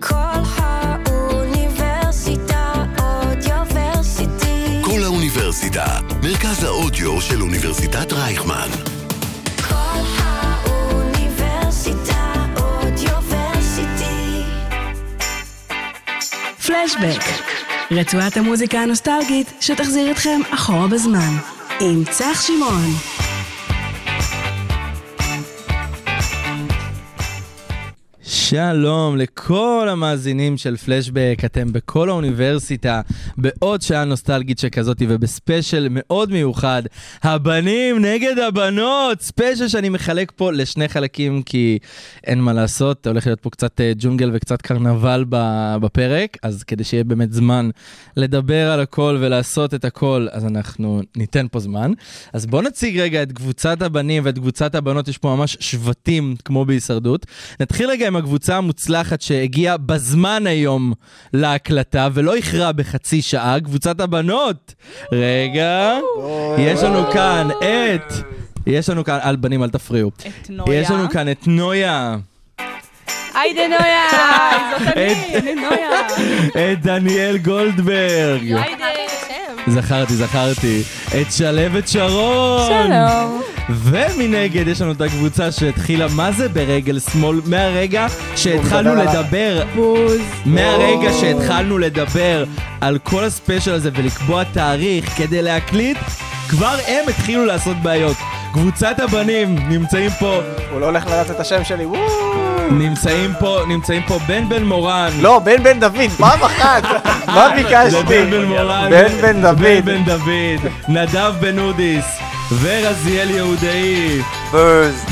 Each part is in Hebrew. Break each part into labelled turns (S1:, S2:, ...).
S1: כל האוניברסיטה אודיוורסיטי.
S2: כל האוניברסיטה, מרכז האודיו של אוניברסיטת רייכמן.
S1: כל האוניברסיטה אודיוורסיטי.
S3: פלשבק, רצועת המוזיקה הנוסטלגית שתחזיר אתכם אחורה בזמן, עם צח שמעון.
S4: שלום לכל המאזינים של פלשבק, אתם בכל האוניברסיטה, בעוד שעה נוסטלגית שכזאתי ובספיישל מאוד מיוחד, הבנים נגד הבנות, ספיישל שאני מחלק פה לשני חלקים כי אין מה לעשות, הולך להיות פה קצת אה, ג'ונגל וקצת קרנבל ב- בפרק, אז כדי שיהיה באמת זמן לדבר על הכל ולעשות את הכל, אז אנחנו ניתן פה זמן. אז בואו נציג רגע את קבוצת הבנים ואת קבוצת הבנות, יש פה ממש שבטים כמו בהישרדות. נתחיל רגע עם הקבוצה המוצלחת שהגיעה בזמן היום להקלטה ולא איחרה בחצי שעה, קבוצת הבנות. רגע, יש לנו כאן את... יש לנו כאן, אל בנים אל תפריעו.
S5: את נויה.
S4: יש לנו כאן את נויה,
S5: היידה נויה! זאת אני, אני נויה.
S4: את דניאל גולדברג.
S5: היידה.
S4: זכרתי, זכרתי. את שלהבת שרון.
S5: שלום.
S4: ומנגד יש לנו את הקבוצה שהתחילה, מה זה ברגל שמאל? מהרגע שהתחלנו לדבר,
S5: בוז.
S4: מהרגע שהתחלנו לדבר על כל הספיישל הזה ולקבוע תאריך כדי להקליט, כבר הם התחילו לעשות בעיות. קבוצת הבנים נמצאים פה,
S6: הוא לא הולך לדעת את השם שלי, וואו.
S4: נמצאים פה, נמצאים פה בן בן מורן.
S6: לא, בן בן דוד, פעם אחת. מה
S7: לא,
S4: זה
S6: ביקשתי?
S4: בן בן מורן.
S6: בן בן
S4: בן
S6: דוד.
S4: בן דוד. נדב בן אודיס. ורזיאל יהודאי.
S6: בוז.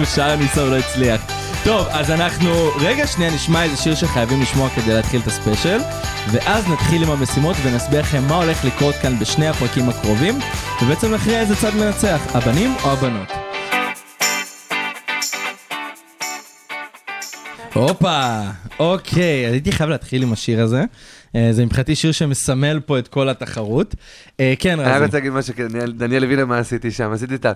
S4: ושאר הניסון לא הצליח. טוב, אז אנחנו רגע שנייה נשמע איזה שיר שחייבים לשמוע כדי להתחיל את הספיישל, ואז נתחיל עם המשימות ונסביר לכם מה הולך לקרות כאן בשני הפרקים הקרובים, ובעצם נכריע איזה צד מנצח, הבנים או הבנות. הופה, אוקיי, אז הייתי חייב להתחיל עם השיר הזה. אה, זה מבחינתי שיר שמסמל פה את כל התחרות. אה, כן,
S8: אני רק
S4: רזי.
S8: רוצה להגיד משהו, כי דניאל- דניאל הבינה מה עשיתי שם, עשיתי את ה...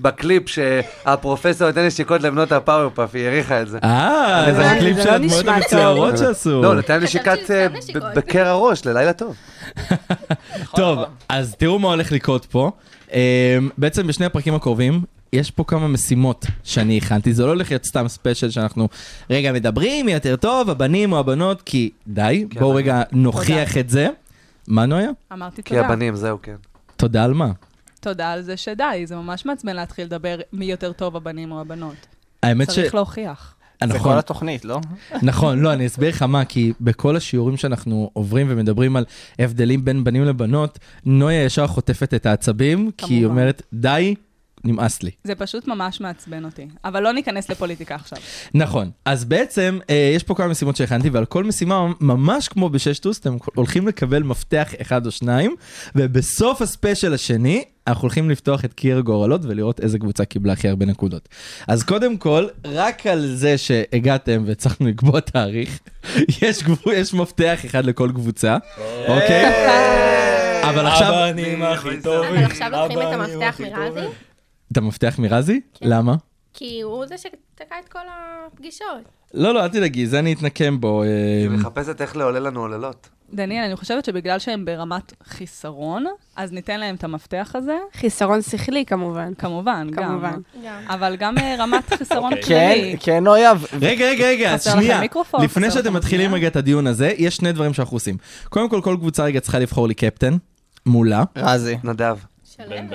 S8: בקליפ שהפרופסור נותן נשיקות לבנות הפאוורפאף, היא העריכה את זה.
S4: אה, זה
S5: זה
S4: הקליפ
S5: לא
S4: של
S5: נשמע
S4: הדמויות
S5: טוב.
S4: המצוירות שעשו.
S8: לא, נתן נשיקת אה, ב- בקר הראש, ללילה טוב.
S4: טוב, אז תראו מה הולך לקרות פה. אמ, בעצם בשני הפרקים הקרובים, יש פה כמה משימות שאני הכנתי, זה לא הולך להיות סתם ספיישל שאנחנו רגע מדברים, מי יותר טוב, הבנים או הבנות, כי די, בואו רגע נוכיח את זה. מה נויה?
S5: אמרתי
S8: כי
S5: תודה.
S8: הבנים, זהו, כן.
S4: תודה על מה?
S5: תודה על זה שדי, זה ממש מעצבן להתחיל לדבר מי יותר טוב, הבנים או הבנות.
S4: האמת ש...
S5: צריך להוכיח.
S6: זה
S4: נכון,
S6: כל התוכנית, לא?
S4: נכון, לא, אני אסביר לך מה, כי בכל השיעורים שאנחנו עוברים ומדברים על הבדלים בין בנים לבנות, נויה ישר חוטפת את העצבים, כי היא
S5: כמובן.
S4: אומרת, די, נמאס לי.
S5: זה פשוט ממש מעצבן אותי. אבל לא ניכנס לפוליטיקה עכשיו.
S4: נכון, אז בעצם אה, יש פה כמה משימות שהכנתי, ועל כל משימה, ממש כמו בששטוס, אתם הולכים לקבל מפתח אחד או שניים, ובסוף הספיישל השני, אנחנו הולכים לפתוח את קיר הגורלות ולראות איזה קבוצה קיבלה הכי הרבה נקודות. אז קודם כל, רק על זה שהגעתם והצלחנו לקבוע תאריך, יש, גבו- יש מפתח אחד לכל קבוצה, אוקיי? אה, אבל עכשיו,
S7: הבנים הכי טובים.
S9: אבל עכשיו לוקחים את המפתח מרזי,
S4: את המפתח מרזי? למה?
S9: כי הוא זה שתקע את כל הפגישות.
S4: לא, לא, אל תדאגי, זה אני אתנקם בו.
S8: היא
S4: אה,
S8: מחפשת איך לעולל לנו עוללות.
S5: דניאל, אני חושבת שבגלל שהם ברמת חיסרון, אז ניתן להם את המפתח הזה,
S10: חיסרון שכלי כמובן.
S5: כמובן, גם.
S10: כמובן.
S9: גם.
S5: אבל גם אה, רמת חיסרון
S6: כן,
S5: כללי.
S6: כן, אויב.
S4: רגע, רגע, רגע,
S5: חסר לכם
S4: שנייה.
S5: מיקרופון,
S4: לפני
S5: חסר
S4: שאתם
S5: לכם
S4: מתחילים
S5: שנייה.
S4: רגע את הדיון הזה, יש שני דברים שאנחנו עושים. קודם כל, כל קבוצה רגע צריכה לבחור לי קפטן, מולה.
S6: רזי.
S8: נדב.
S9: שלמת.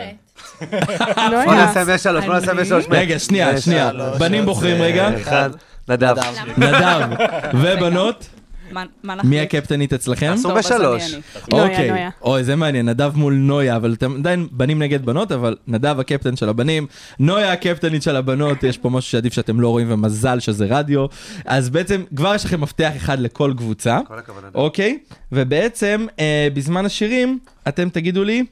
S8: בוא
S10: נויה,
S8: נעשה 103, בוא נעשה 103.
S4: רגע, שנייה, שנייה. בנים בוחרים רגע.
S8: אחד. נדב.
S4: אה. נדב ובנות,
S5: מה- מה אנחנו-
S4: מי הקפטנית אצלכם?
S8: עשו
S5: טוב, אז אני,
S8: בשלוש.
S5: אני.
S10: נויה,
S4: אוקיי.
S10: לא, נויה.
S4: אוי, זה מעניין, נדב מול נויה, אבל אתם עדיין בנים נגד בנות, אבל נדב הקפטן של הבנים, נויה הקפטנית של הבנות, יש פה משהו שעדיף שאתם לא רואים, ומזל שזה רדיו. אז בעצם, כבר יש לכם מפתח אחד לכל קבוצה.
S8: כל הכבוד, נדב.
S4: אוקיי? ובעצם, אה, בזמן השירים, אתם תגידו לי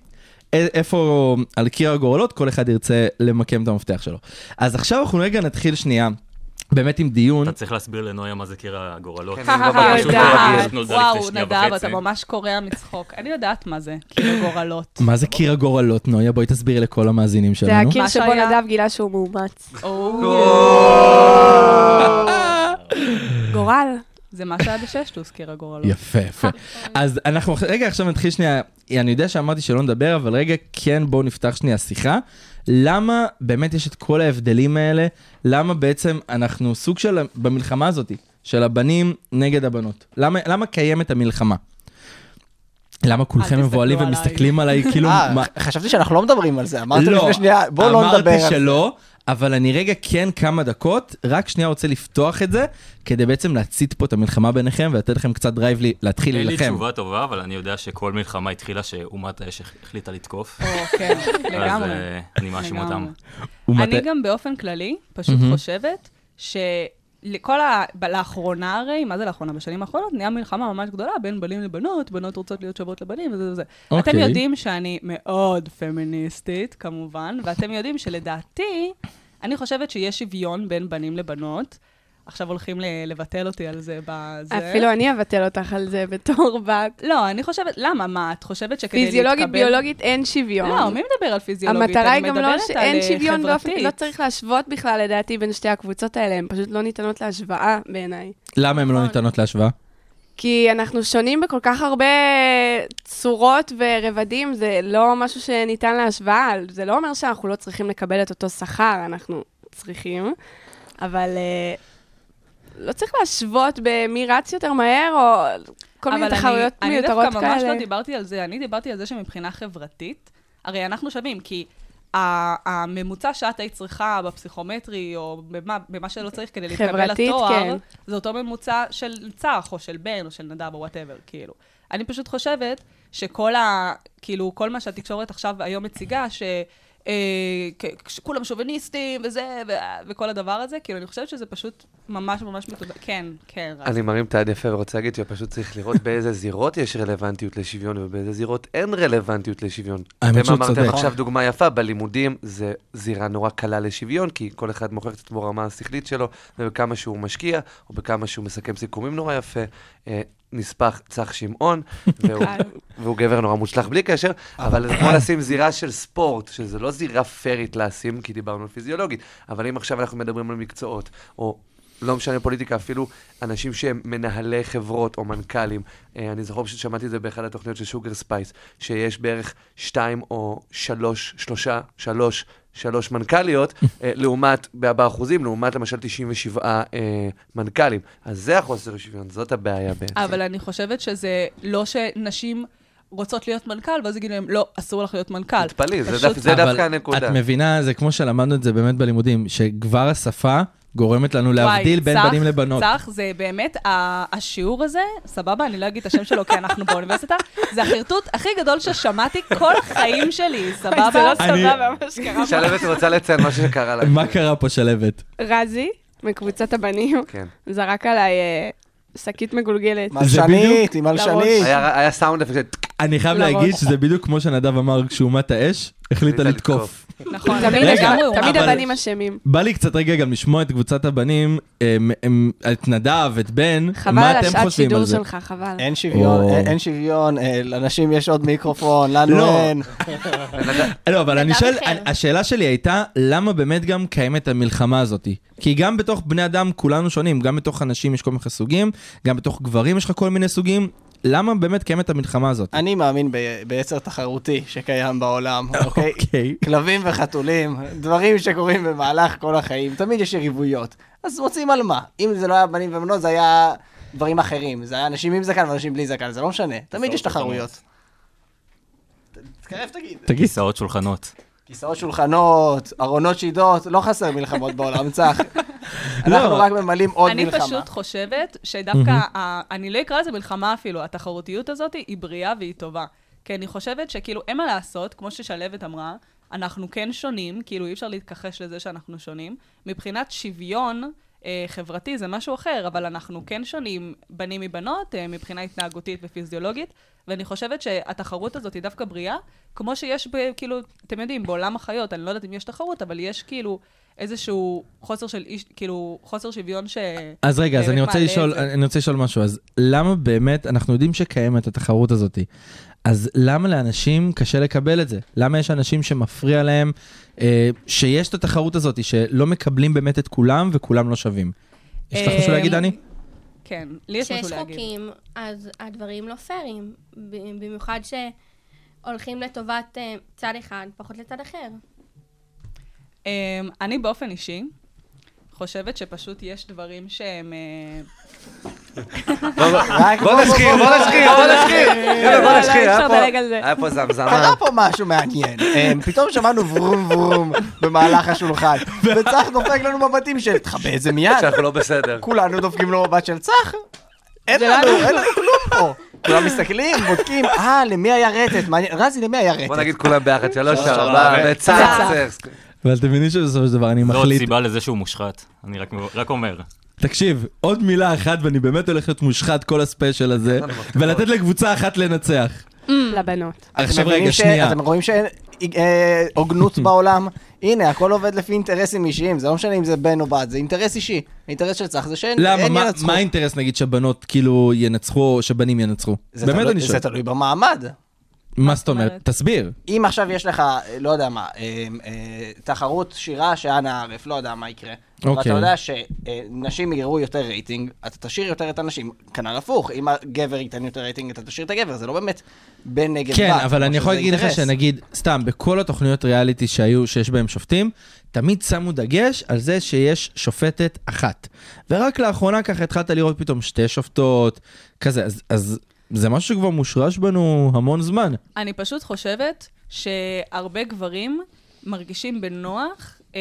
S4: א- איפה על קיר הגורלות כל אחד ירצה למקם את המפתח שלו. אז עכשיו אנחנו רגע נתחיל שנייה, באמת עם דיון.
S7: אתה צריך להסביר לנויה מה זה קיר הגורלות.
S8: כן, אני לא בטוח שהוא
S5: יודעת.
S8: רגיל.
S7: פשוט נולדה לפני
S5: אה, וואו,
S7: שנייה
S5: נדב,
S7: וחצי.
S5: אתה ממש קורע מצחוק. אני יודעת מה זה, כאילו גורלות.
S4: מה זה קיר הגורלות, נויה? בואי תסבירי לכל המאזינים
S10: זה
S4: שלנו.
S10: הקיר
S5: מה
S10: שבו
S5: שהיה-
S10: נדב גילה שהוא מאומץ.
S5: או,
S10: הגורל.
S5: זה מה שהיה בששטוס, קיר הגורלות.
S4: יפה, יפה. אז אנחנו, רגע, עכשיו נתחיל שנייה, אני יודע שאמרתי שלא נדבר, אבל רגע, כן, בואו נפתח שנייה שיחה. למה באמת יש את כל ההבדלים האלה? למה בעצם אנחנו סוג של, במלחמה הזאת, של הבנים נגד הבנות? למה, למה קיימת המלחמה? למה כולכם
S5: תסתכלו
S4: מבוהלים
S5: עליי.
S4: ומסתכלים עליי, כאילו,
S6: אה,
S4: מה...
S6: חשבתי שאנחנו לא מדברים על זה, אמרת
S4: לא,
S6: לפני שנייה, בוא לא נדבר על
S4: אמרתי
S6: זה.
S4: שלא, אבל אני רגע כן כמה דקות, רק שנייה רוצה לפתוח את זה, כדי בעצם להצית פה את המלחמה ביניכם ולתת לכם קצת דרייב לי- להתחיל
S7: אין לי
S4: להילחם.
S7: תשובה טובה, אבל אני יודע שכל מלחמה התחילה שאומת האש הח- החליטה לתקוף.
S5: או, כן,
S7: אז
S5: לגמרי.
S7: אה, אני מאשים
S5: לגמרי.
S7: אותם.
S4: ומת-
S5: אני גם באופן כללי, פשוט חושבת שלכל ה... ב- לאחרונה הרי, מה זה לאחרונה? בשנים האחרונות נהיה מלחמה ממש גדולה בין בנים לבנות, בנות רוצות להיות שוות לבנים וזה וזה. אתם
S4: אוקיי.
S5: יודעים שאני מאוד פמיניסטית, כמובן, ואתם יודעים שלדעתי, אני חושבת שיש שוויון בין בנים לבנות. עכשיו הולכים ל- לבטל אותי על זה בזה.
S10: אפילו אני אבטל אותך על זה בתור בת.
S5: לא, אני חושבת, למה? מה, את חושבת שכדי להתקבל...
S10: פיזיולוגית, ביולוגית, אין שוויון.
S5: לא, מי מדבר על פיזיולוגית?
S10: המטרה היא
S5: אני
S10: גם לא
S5: מדברת על,
S10: שאין
S5: אה,
S10: שוויון באופן,
S5: חברתית.
S10: לא צריך להשוות בכלל לדעתי בין שתי הקבוצות האלה, הן פשוט לא ניתנות להשוואה בעיניי.
S4: למה
S10: נכון.
S4: הן לא ניתנות להשוואה?
S10: כי אנחנו שונים בכל כך הרבה צורות ורבדים, זה לא משהו שניתן להשוואה, זה לא אומר שאנחנו לא צריכים לקבל את אותו שכר, אנחנו צריכים, אבל אה, לא צריך להשוות במי רץ יותר מהר, או כל מיני
S5: אבל אני-
S10: תחרויות מיותרות
S5: אני דווקא
S10: כאלה.
S5: ממש לא דיברתי על זה, אני דיברתי על זה שמבחינה חברתית, הרי אנחנו שווים, כי ה- הממוצע שאת היית צריכה בפסיכומטרי, או במה, במה שלא צריך כדי להתקבל
S10: חברתית,
S5: לתואר,
S10: כן.
S5: זה אותו ממוצע של צח, או של בן, או של נדב, או וואטאבר, כאילו. אני פשוט חושבת שכל ה... כאילו, כל מה שהתקשורת עכשיו היום מציגה, ש... אה, כ- שכולם שוביניסטים וזה, ו- וכל הדבר הזה, כאילו, אני חושבת שזה פשוט ממש ממש מתודה... כן, כן, רז.
S8: אני מרים את היד יפה ורוצה להגיד שפשוט צריך לראות באיזה זירות יש רלוונטיות לשוויון ובאיזה זירות אין רלוונטיות לשוויון.
S4: האמת
S8: אתם
S4: שהוא
S8: אמרתם
S4: צודק.
S8: עכשיו דוגמה יפה, בלימודים זה זירה נורא קלה לשוויון, כי כל אחד מוכיח את עצמו ברמה השכלית שלו, ובכמה שהוא משקיע, או בכמה שהוא מסכם סיכומים נורא יפה. אה, נספח צח שמעון, והוא, והוא גבר נורא מוצלח בלי קשר, אבל זה כמו לשים זירה של ספורט, שזה לא זירה פיירית לשים, כי דיברנו על פיזיולוגית, אבל אם עכשיו אנחנו מדברים על מקצועות, או לא משנה פוליטיקה, אפילו אנשים שהם מנהלי חברות או מנכ"לים. אה, אני זוכר ששמעתי את זה באחד התוכניות של שוגר ספייס, שיש בערך שתיים או שלוש, שלושה, שלוש, שלוש מנכ"ליות, אה, לעומת, ב- באחוזים, לעומת למשל 97 אה, מנכ"לים. אז זה החוסר שוויון, זאת הבעיה בעצם.
S5: אבל אני חושבת שזה לא שנשים רוצות להיות מנכ"ל, ואז יגידו להם, לא, אסור לך להיות מנכ"ל.
S8: תתפלאי, זה,
S5: פשוט-
S8: דו, זה
S4: אבל
S8: דווקא הנקודה.
S4: את מבינה, זה כמו שלמדנו את זה באמת בלימודים, שכבר השפה גורמת לנו להבדיל בין
S5: צח,
S4: בנים לבנות.
S5: צח, זה באמת, ה- השיעור הזה, סבבה, אני לא אגיד את השם שלו כי אנחנו באוניברסיטה, זה החרטוט הכי גדול ששמעתי כל החיים שלי,
S10: אוי, זה
S5: סבבה?
S10: לא סבבה, ממש קרה.
S8: שלוות רוצה לציין מה שקרה לה.
S4: מה קרה פה שלוות?
S10: רזי, מקבוצת הבנים,
S8: כן.
S10: זרק עליי אה, שקית מגולגלת.
S6: מלשנית, היא
S10: לראש.
S6: מלשנית.
S8: היה, היה סאונד אפקט,
S4: אני חייב
S10: לראש.
S4: להגיד שזה בדיוק כמו שנדב אמר, כשאומת האש, החליטה
S8: החליטה
S4: לתקוף.
S5: נכון,
S10: תמיד
S4: רגע,
S10: הבנים-
S5: הוא
S10: תמיד
S5: אמר.
S4: אבל-
S10: הבנים אשמים.
S4: בא לי קצת רגע גם לשמוע את קבוצת הבנים, הם- הם- את נדב, את בן,
S10: חבל
S4: מה
S10: על
S4: אתם
S10: השעת
S4: חושבים על
S10: שידור
S4: זה?
S10: שלך, חבל.
S6: אין שוויון,
S4: או.
S6: אין- אין שוויון, אה, לאנשים יש עוד מיקרופון, לנו
S4: לא.
S6: אין.
S4: לא, אבל אני
S9: אדם
S4: שואל,
S9: אחר.
S4: אני- השאלה שלי הייתה, למה באמת גם קיימת המלחמה הזאת? כי גם בתוך בני אדם כולנו שונים, גם בתוך אנשים יש כל מיני סוגים, גם בתוך גברים יש לך כל מיני סוגים, למה באמת קיימת המלחמה הזאת?
S6: אני מאמין ב- ביצר תחרותי שקיים בעולם, אוקיי?
S4: אוקיי.
S6: כלבים וחתולים, דברים שקורים במהלך כל החיים, תמיד יש יריבויות. אז מוצאים על מה. אם זה לא היה בנים ובנות, זה היה דברים אחרים. זה היה אנשים עם זקן ואנשים בלי זקן, זה לא משנה. תמיד יש תחרויות. ת- תתקרב תגיד.
S4: תגיד,
S7: כיסאות שולחנות.
S6: כיסאות שולחנות, ארונות שידות, לא חסר מלחמות בעולם, צח. אנחנו
S8: לא.
S6: רק ממלאים עוד
S5: אני
S6: מלחמה.
S5: פשוט חושבת שדווקא, ה- אני לא אקרא לזה מלחמה אפילו, התחרותיות הזאת היא בריאה והיא טובה. כי אני חושבת שכאילו, אין מה לעשות, כמו ששלהבת אמרה, אנחנו כן שונים, כאילו אי אפשר להתכחש לזה שאנחנו שונים. מבחינת שוויון אה, חברתי זה משהו אחר, אבל אנחנו כן שונים בנים מבנות, אה, מבחינה התנהגותית ופיזיולוגית, ואני חושבת שהתחרות הזאת היא דווקא בריאה, כמו שיש, ב, כאילו, אתם יודעים, בעולם החיות, אני לא יודעת אם יש תחרות, אבל יש כאילו איזשהו חוסר של איש, כאילו, חוסר שוויון ש...
S4: אז רגע, אז
S5: באמת
S4: אני רוצה
S5: מעלה את
S4: לשאול,
S5: זה.
S4: אני רוצה לשאול משהו, אז למה באמת, אנחנו יודעים שקיימת התחרות הזאת, אז למה לאנשים קשה לקבל את זה? למה יש אנשים שמפריע להם אה, שיש את התחרות הזאת, שלא מקבלים באמת את כולם וכולם לא שווים? יש לך משהו להגיד,
S5: אמ,
S4: דני?
S5: כן, לי יש משהו
S9: כשיש
S5: להגיד.
S9: חוקים, אז הדברים לא פיירים. ב- במיוחד שהולכים לטובת אה, צד אחד, פחות לצד אחר.
S5: אמ, אני באופן אישי חושבת שפשוט יש דברים שהם... אה,
S6: רק
S8: בוא נשחיר, בוא נשחיר, בוא נשחיר. יאללה, בוא
S10: לא,
S8: נשחיר.
S10: אי
S8: היה
S10: אפשר
S8: פה-
S10: לדלג על זה.
S8: היה פה זמזמה.
S6: קרה פה משהו מעניין. אמ, פתאום שמענו ורום ורום במהלך השולחן, וצח דופק לנו מבטים של תכבה את זה מיד.
S8: שאנחנו לא בסדר.
S6: כולנו דופקים לו מבט של צח. אין לנו, אין לנו כלום פה. כולם מסתכלים, בודקים, אה, למי היה רטט? מעניין, רזי, למי היה רטט?
S8: בוא נגיד כולם ביחד, שלוש, ארבע,
S6: ארבע,
S8: וצץ.
S4: אבל אתם מבינים שבסופו של דבר אני
S7: לא עוד
S4: מחליט...
S7: סיבה לזה שהוא מושחת, אני רק- רק אומר.
S4: תקשיב, עוד מילה אחת ואני באמת הולך להיות מושחת כל הספיישל הזה, ולתת לקבוצה אחת לנצח.
S10: לבנות.
S6: אתם
S4: עכשיו
S6: מבינים
S4: רגע,
S6: ש-
S4: שנייה.
S6: אתם רואים שאין אה, הוגנות בעולם? הנה, הכל עובד לפי אינטרסים אישיים, זה לא משנה אם זה בן או בת, זה אינטרס אישי. האינטרס של צח זה שאין
S4: למה?
S6: אין
S4: מה-
S6: ינצחו.
S4: מה האינטרס נגיד שבנות כאילו ינצחו או שבנים ינצחו?
S6: זה
S4: באמת
S6: תלוי-
S4: אני שואל.
S6: זה תלוי במעמד.
S4: מה זאת אומרת? תסביר.
S6: אם עכשיו יש לך, אה, לא יודע מה, אה, אה, תחרות שירה שאנה ערף, לא יודע מה יקרה. ואתה
S4: אוקיי.
S6: יודע שנשים יראו יותר רייטינג, אתה תשאיר יותר את הנשים. כנ"ל הפוך, אם הגבר ייתן יותר רייטינג, אתה תשאיר את הגבר, זה לא באמת בן נגד בת.
S4: כן, אבל אני
S6: כמו
S4: יכול
S6: שזה
S4: להגיד לך
S6: אינטרס.
S4: שנגיד, סתם, בכל התוכניות ריאליטי שהיו, שיש בהם שופטים, תמיד שמו דגש על זה שיש שופטת אחת. ורק לאחרונה ככה התחלת לראות פתאום שתי שופטות, כזה, אז- אז זה משהו שכבר מושרש בנו המון זמן.
S5: אני פשוט חושבת שהרבה גברים מרגישים בנוח, אה,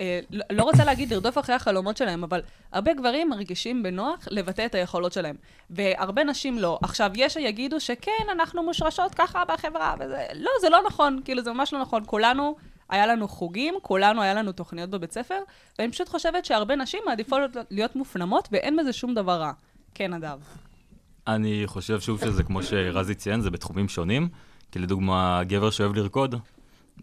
S5: אה, לא- לא רוצה להגיד לרדוף אחרי החלומות שלהם, אבל הרבה גברים מרגישים בנוח לבטא את היכולות שלהם, והרבה נשים לא. עכשיו, יש שיגידו שכן, אנחנו מושרשות ככה בחברה, וזה... לא, זה לא נכון, כאילו, זה ממש לא נכון. כולנו... היה לנו חוגים, כולנו, היה לנו תוכניות בבית ספר, ואני פשוט חושבת שהרבה נשים מעדיפות להיות מופנמות, ואין בזה שום דבר רע. כן, נדב.
S7: אני חושב שוב שזה כמו שרזי ציין, זה בתחומים שונים. כי לדוגמה, גבר שאוהב לרקוד, הרבה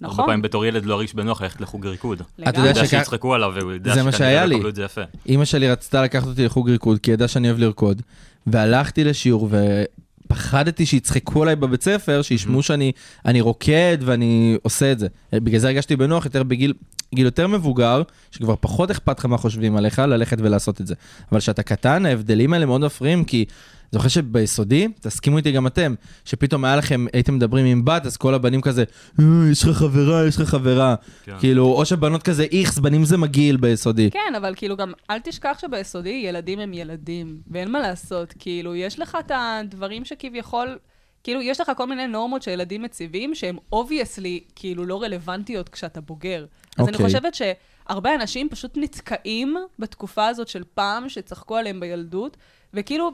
S5: נכון?
S7: פעמים בתור ילד לא ירגיש בנוח ללכת לחוג ריקוד.
S5: לגמרי.
S4: אתה
S7: הוא
S4: יודע
S7: יודע
S4: שכ-
S7: שיצחקו עליו, והוא יודע
S4: זה מה שהיה
S7: שכנראה לא
S4: לי.
S7: יקבלו את זה יפה.
S4: אימא שלי רצתה לקחת אותי לחוג ריקוד, כי ידעה שאני אוהב לרקוד, והלכתי לשיעור ופחדתי שיצחקו עליי בבית ספר, שישמעו שאני אני רוקד ואני עושה את זה. בגלל זה הרגשתי בנוח יותר בגיל גיל יותר מבוגר, שכבר פחות אכפת לך מה חושבים עליך, ללכת ולעשות את זה. אבל כשאתה קטן, ההבדלים האלה מאוד מפריעים, כי... זוכר שביסודי, תסכימו איתי גם אתם, שפתאום היה לכם, הייתם מדברים עם בת, אז כל הבנים כזה, "אה, יש לך חברה, יש לך חברה.
S7: כן.
S4: כאילו, או שבנות כזה איכס, בנים זה מגעיל ביסודי.
S5: כן, אבל כאילו גם, אל תשכח שביסודי ילדים הם ילדים, ואין מה לעשות. כאילו, יש לך את הדברים שכביכול... כאילו, יש לך כל מיני נורמות שילדים מציבים, שהן אובייסלי, כאילו, לא רלוונטיות כשאתה בוגר. אז אני
S4: אוקיי.
S5: חושבת שהרבה אנשים פשוט נתקעים בתקופה הזאת של פעם, שצחקו עליהם בילדות, וכאילו,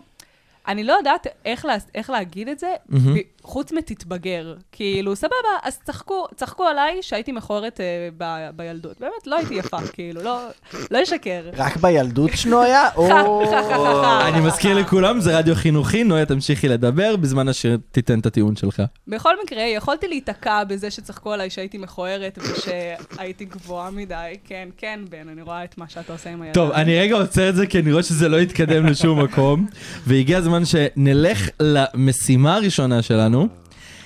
S5: אני לא יודעת איך, לה, איך להגיד את זה, mm-hmm. חוץ מתתבגר. כאילו, סבבה, אז צחקו, צחקו עליי שהייתי מכוערת אה, ב, בילדות. באמת, לא הייתי יפה, כאילו, לא, לא אשקר.
S6: רק בילדות שלו היה? או...
S4: אני מזכיר לכולם, זה רדיו חינוכי, נויה תמשיכי לדבר בזמן אשר תיתן את הטיעון שלך.
S5: בכל מקרה, יכולתי להיתקע בזה שצחקו עליי שהייתי מכוערת ושהייתי גבוהה מדי. כן, כן, בן, אני רואה את מה שאתה עושה עם הידיים.
S4: טוב, אני רגע עוצר את זה כי אני רואה שזה לא התקדם לשום מקום, והגיע הזמן שנלך למשימה הראשונה שלנו,
S7: פעם,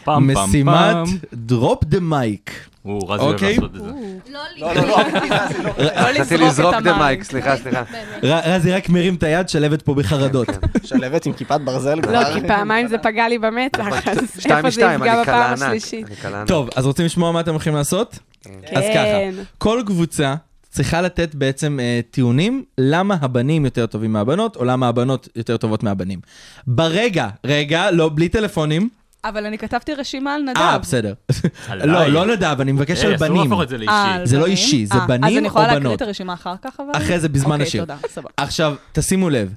S7: פעם, פעם.
S4: משימת דרופ דה מייק.
S7: הוא רזי אוהב
S4: אוקיי.
S7: לעשות את זה.
S9: לא
S5: לא
S8: רציתי
S5: לזרוק
S8: לזרוק
S5: את
S8: דה
S5: המים.
S8: מייק, סליחה, סליחה.
S4: רזי רק מרים את היד, שלבת פה בחרדות.
S6: שלבת עם כיפת ברזל כבר.
S10: לא, כי פעמיים זה פגע לי במצח, אז
S8: שתיים
S10: איפה זה
S8: משתיים,
S10: יפגע
S8: אני
S10: בפעם
S8: כלענק.
S10: השלישית?
S8: אני כלענק.
S4: טוב, אז רוצים לשמוע מה אתם הולכים לעשות? אז
S10: כן.
S4: ככה, כל קבוצה צריכה לתת בעצם אה, טיעונים למה הבנים יותר טובים מהבנות, או למה הבנות יותר טובות מהבנים. ברגע, רגע, לא, בלי טלפונים.
S5: אבל אני כתבתי רשימה על נדב.
S4: אה, בסדר.
S7: עליי.
S4: לא, לא נדב, אני מבקש
S7: היי,
S4: על
S7: אסור
S4: בנים.
S7: להפוך את זה
S5: אה,
S7: לאישי.
S5: על
S4: זה לא
S5: בנים?
S4: אישי, זה
S5: אה,
S4: בנים
S5: אז אני יכולה
S4: או
S5: להקריא
S4: בנות?
S5: את הרשימה אחר כך, אבל?
S4: אחרי זה, בזמן השיר.
S5: אוקיי, תודה, סבבה.
S4: עכשיו, שימו לב.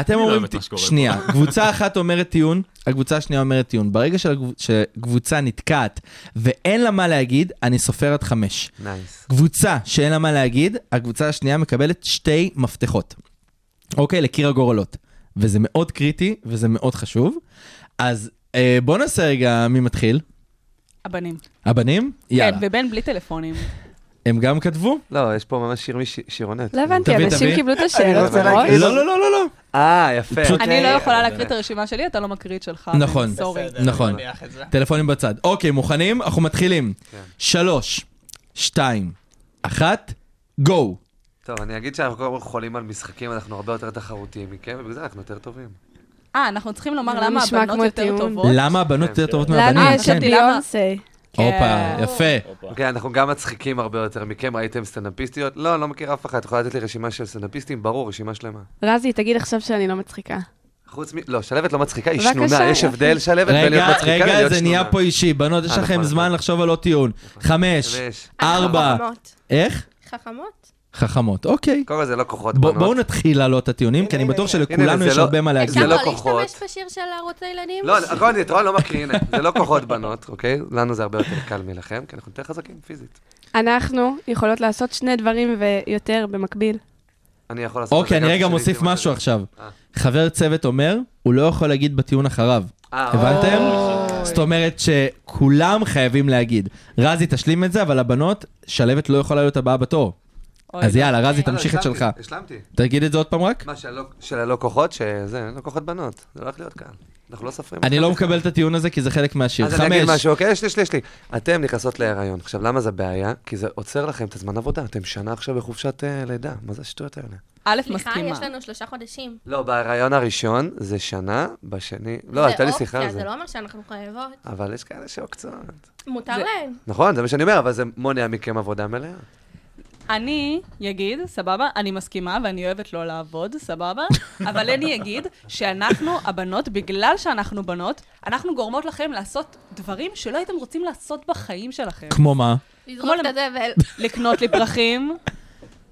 S4: אתם
S7: לא אוהב
S4: אומרים,
S7: את מה שקורה פה.
S4: שנייה, קבוצה אחת אומרת טיעון, הקבוצה השנייה אומרת טיעון. ברגע שהקב- שקבוצה נתקעת ואין לה מה להגיד, אני סופר עד חמש.
S8: נייס.
S4: קבוצה שאין לה מה להגיד, הקבוצה השנייה מקבלת שתי מפתחות. אוקיי, לקיר הגורלות. וזה מאוד קריטי וזה מאוד חשוב. אז אה, בוא נעשה רגע מי מתחיל.
S5: הבנים.
S4: הבנים?
S5: כן,
S4: יאללה.
S5: ובן בלי טלפונים.
S4: הם גם כתבו?
S8: לא, יש פה ממש שיר משירונת.
S10: לא הבנתי,
S4: תביא,
S10: אנשים
S4: תביא.
S10: קיבלו את השאלות
S6: רוצה
S10: מראש?
S6: להקריא.
S4: לא, לא, לא, לא, לא.
S8: אה, יפה.
S4: פשוט-
S5: אני לא יכולה להקריא את הרשימה שלי, אתה לא מקריא את שלך.
S4: נכון.
S5: בן, סורי.
S4: נכון.
S6: נניח את זה.
S4: טלפונים בצד. אוקיי, מוכנים?
S8: כן.
S4: אנחנו מתחילים. שלוש, שתיים, אחת, גו.
S8: טוב, אני אגיד שאנחנו כל הזמן חולים על משחקים, אנחנו הרבה יותר תחרותיים מכם, ובגלל זה אנחנו יותר טובים.
S5: אה, אנחנו צריכים לומר
S10: לא, זה
S5: למה
S10: נשמע
S5: הבנות
S10: כמו
S5: יותר
S10: טיעון.
S5: טובות.
S4: למה הבנות יותר טובות
S10: לנו
S4: מהבנים?
S10: יש
S4: כן.
S10: את ביונסה.
S4: הופה,
S5: כן.
S4: יפה.
S8: אוקיי, אנחנו גם מצחיקים הרבה יותר מכם, ראיתם סטנדאפיסטיות? לא, אני לא מכיר אף אחד. את יכולה לתת לי רשימה של סטנדאפיסטים? ברור, רשימה שלמה.
S10: רזי, תגיד עכשיו שאני לא מצחיקה.
S8: חוץ מ... לא, שלוות לא מצחיקה, היא
S10: בבקשה,
S8: שנונה. יש
S10: יופי.
S8: הבדל שלוות בין להיות
S4: רגע,
S8: מצחיקה
S4: רגע,
S8: ללהיות
S4: זה
S8: שנונה.
S4: נהיה פה אישי. בנות, יש
S8: אה,
S4: לכם
S8: נכון,
S4: זמן
S8: נכון.
S4: לחשוב על עוד טיעון. חמש,
S8: ויש-
S4: ארבע,
S9: חכמות.
S4: איך?
S9: חכמות?
S4: חכמות, אוקיי.
S8: קודם כל זה לא כוחות
S4: בוא-
S8: בנות.
S4: בואו נתחיל לעלות את הטיעונים, כי אני בטוח
S8: הנה,
S4: שלכולנו
S8: זה
S4: יש
S8: לא-
S4: הרבה מה
S8: זה
S4: להגיד.
S9: אפשר לא
S8: לא כוחות.
S9: להשתמש בשיר של ערוץ הילדים?
S8: לא, הכל אני, את רואה, לא מקריא, הנה. זה לא כוחות בנות, אוקיי? לנו זה הרבה יותר קל מלכם, כי אנחנו יותר חזקים פיזית.
S10: אנחנו יכולות לעשות שני דברים ויותר במקביל.
S8: אני יכול לעשות... את זה
S4: אוקיי, אני
S8: גם
S4: רגע
S8: כשאני
S4: מוסיף
S8: הייתי
S4: משהו
S8: מגן.
S4: עכשיו.
S8: אה.
S4: חבר צוות אומר, הוא לא יכול להגיד בטיעון אחריו.
S8: אה,
S4: הבנתם?
S5: אה,
S4: זאת אומרת שכולם חייבים להגיד. רזי תשלים את זה, אבל הבנות, שלוות לא יכולה להיות הבאה בתור.
S5: אוי,
S4: אז
S5: לא.
S4: יאללה, רזי,
S8: לא,
S4: תמשיך את
S8: השלמתי,
S4: שלך.
S8: השלמתי.
S4: תגיד את זה עוד פעם רק.
S8: מה, של הלא- של הלא כוחות? שזה, אין לו כוחות בנות. זה הולך להיות קל. אנחנו לא סופרים.
S4: אני
S8: אתכם
S4: לא
S8: בכלל.
S4: מקבל את הטיעון הזה, כי זה חלק מהשיר.
S8: אז אני אגיד
S4: חמש.
S8: משהו, אוקיי? יש לי, יש לי, יש לי. אתם נכנסות להיריון. עכשיו, למה זה בעיה? כי זה עוצר לכם את הזמן עבודה. אתם שנה עכשיו בחופשת אה, לידה. מה זה השטויות האלה?
S5: א',
S9: סליחה,
S5: מסכימה.
S9: יש לנו שלושה חודשים.
S8: לא, בהיריון הראשון זה שנה, בשני... לא,
S9: זה
S8: הייתה לי
S9: אופציה,
S8: שיחה על זה.
S9: זה לא אומר שאנחנו חייבות.
S8: אבל יש כאלה שעוקצות.
S9: מותר להם.
S8: נכון, זה מה שאני אומר, אבל זה מונע מכם עבודה מלאה.
S5: אני אגיד, סבבה, אני מסכימה ואני אוהבת לא לעבוד, סבבה, אבל אני אגיד שאנחנו, הבנות, בגלל שאנחנו בנות, אנחנו גורמות לכם לעשות דברים שלא הייתם רוצים לעשות בחיים שלכם.
S4: כמו מה?
S9: לזרוק
S5: למ-
S9: את הזבל.
S5: לקנות לי פרחים,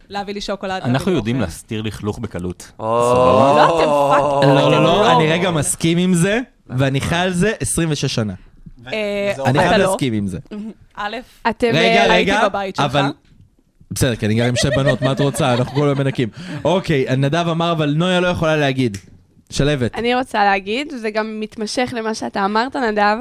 S5: להביא לי שוקולד. להביא לי
S7: אנחנו יודעים
S5: אוכל.
S7: להסתיר לכלוך בקלות.
S8: או,
S5: לא, אתם פאק-
S4: לא, לא, לא, אני רגע מסכים עם זה, ואני חי על זה 26 שנה.
S5: אה,
S4: אני
S5: אתה
S4: חייב
S5: לא.
S4: להסכים עם זה.
S5: א',
S10: אתם...
S4: רגע,
S10: אה,
S5: הייתי
S4: רגע,
S5: בבית שלך.
S4: אבל... בסדר, כי אני גר עם שתי בנות, מה את רוצה? אנחנו כל היום מנקים. אוקיי, נדב אמר, אבל נויה לא יכולה להגיד. שלבת.
S10: אני רוצה להגיד, וזה גם מתמשך למה שאתה אמרת, נדב,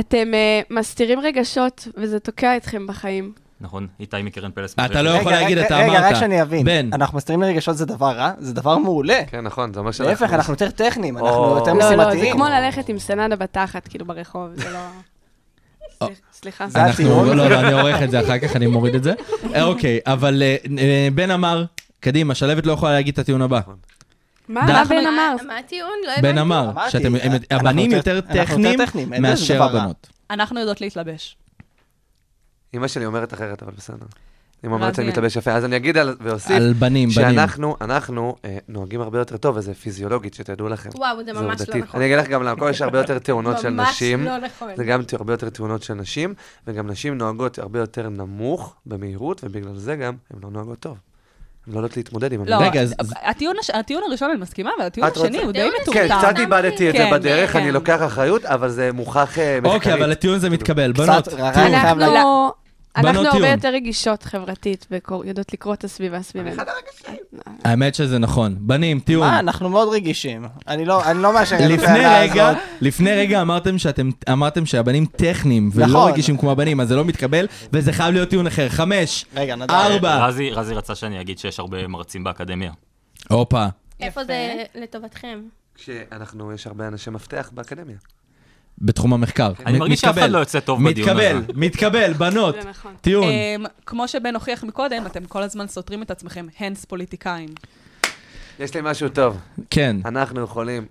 S10: אתם אה, מסתירים רגשות, וזה תוקע אתכם בחיים.
S7: נכון, איתי מקרן פלס.
S4: אתה לא
S6: רגע,
S4: יכול להגיד,
S6: רגע,
S4: אתה
S6: רגע,
S4: אמרת.
S6: רק שאני אבין.
S4: בן.
S6: אנחנו מסתירים לרגשות זה דבר רע? זה דבר מעולה.
S8: כן, נכון, זה אומר שאנחנו...
S6: להפך, אנחנו יותר טכניים,
S8: או.
S6: אנחנו יותר
S10: לא, לא, זה
S6: משימתיים.
S10: כמו ללכת עם סנדה בתחת, כאילו, ברחוב, זה לא... סליח- סליחה.
S6: זה הטיעון.
S4: אנחנו, לא, לא, אני עורך את זה אחר כך, אני מוריד את זה. אה, אוקיי, אבל אה, אה, בן אמר, קדימה, שלבת לא יכולה להגיד את הטיעון הבא.
S10: מה
S4: די.
S10: מה בן
S9: מה-
S10: אמר?
S9: מה הטיעון? לא
S4: בן
S9: הבנתי.
S4: אמר,
S6: אמרתי, אה,
S4: שאתם, הם-
S6: אנחנו
S4: הבנים
S6: יותר-
S4: יותר
S6: אנחנו יותר
S4: טכניים
S6: טכניים, אין בזה
S4: מאשר
S6: דבר רע.
S4: הבנות.
S5: אנחנו יודעות להתלבש.
S8: אימא שלי אומרת אחרת, אבל בסדר. אימא
S5: רזי.
S8: אומרת שאני מתלבש יפה, אז אני אגיד על- ואוסיף.
S4: על בנים, בנים.
S8: שאנחנו, אנחנו אה, נוהגים הרבה יותר טוב, וזה פיזיולוגית, שתדעו לכם.
S9: וואו, זה ממש לא
S8: עובדתית.
S9: נכון.
S8: אני אגיד לך גם למה, קודם יש הרבה יותר תאונות של נשים.
S9: ממש לא נכון.
S8: זה גם ת- הרבה יותר תאונות של נשים, וגם נשים נוהגות הרבה יותר נמוך במהירות, ובגלל זה גם הן לא נוהגות טוב. הן לא יודעות להתמודד עם
S5: לא,
S8: המהירות.
S4: רגע, אז-
S5: הטיעון הש- הטיעון הראשון אני מסכימה, אבל הטיעון
S8: את רוצה-
S5: השני לא, הוא די
S9: הטיעון השני-
S5: מטומטם.
S8: כן, קצת איבדתי את זה
S5: כן,
S8: בדרך,
S5: כן.
S8: אני לוקח אחריות, אבל זה מוכח אה, מחקרית.
S4: אוקיי, אבל הטיעון זה מתקבל. בנות,
S6: קצת רע,
S4: טיעון.
S6: אני חייב להגיד.
S10: אנחנו... אנחנו הרבה
S4: טיעון.
S10: יותר רגישות חברתית, ויודעות לקרוא את הסביבה סביבנו.
S4: האמת שזה נכון. בנים, טיעון.
S6: מה, אנחנו מאוד רגישים. אני לא אני לא מאשר את
S4: לפני
S6: הטענה
S4: רגע,
S6: הזאת.
S4: לפני רגע אמרתם שאתם, אמרתם שהבנים טכניים ולא
S6: נכון.
S4: רגישים כמו הבנים, אז זה לא מתקבל, וזה חייב להיות טיעון אחר. חמש,
S6: רגע, נדב.
S4: ארבע,
S7: רזי, רזי רצה שאני אגיד שיש הרבה מרצים באקדמיה.
S4: הופה.
S9: איפה זה לטובתכם?
S8: כשאנחנו, יש הרבה אנשי מפתח באקדמיה.
S4: בתחום המחקר.
S7: אני
S4: מ-
S7: מרגיש שאף
S4: מתקבל.
S7: אחד לא יוצא טוב בדיון הזה.
S4: מתקבל, מתקבל, בנות,
S10: זה נכון.
S4: טיעון.
S5: אמ, כמו שבן הוכיח מקודם, אתם כל הזמן סותרים את עצמכם, הנס פוליטיקאים.
S8: יש לי משהו טוב.
S4: כן.
S8: אנחנו יכולים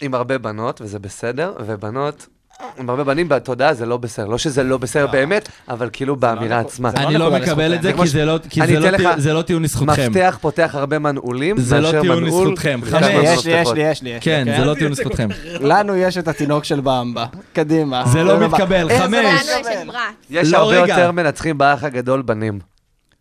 S8: עם הרבה בנות, וזה בסדר, ובנות... עם הרבה בנים בתודעה זה לא בסדר, לא שזה לא בסדר באמת, אבל כאילו באמירה עצמה.
S4: אני לא
S6: מקובל
S4: מקבל את זה,
S8: לזכותכם.
S4: כי זה לא- כי
S8: אני
S4: זה לא
S8: אתן לך
S4: טי- זה לא טיעון לזכותכם.
S8: מפתח פותח הרבה מנעולים,
S4: זה לא
S8: מאשר
S4: טיעון
S8: מנעול-
S4: לזכותכם.
S8: זה
S4: חמש.
S8: כמה
S6: יש לי, יש
S8: מפתחות.
S6: לי, יש לי. יש לי,
S4: כן, זה לא טיעון לזכותכם.
S6: לנו יש את התינוק של במבה. קדימה.
S4: זה לא
S6: במבה.
S4: מתקבל,
S6: איך זה
S4: חמש.
S6: לא
S9: לנו
S4: יש.
S5: אה,
S9: יש
S6: מתקבל?
S9: את ברץ.
S8: יש
S4: לא,
S8: הרבה
S4: רגע.
S8: יותר מנצחים באח הגדול בנים.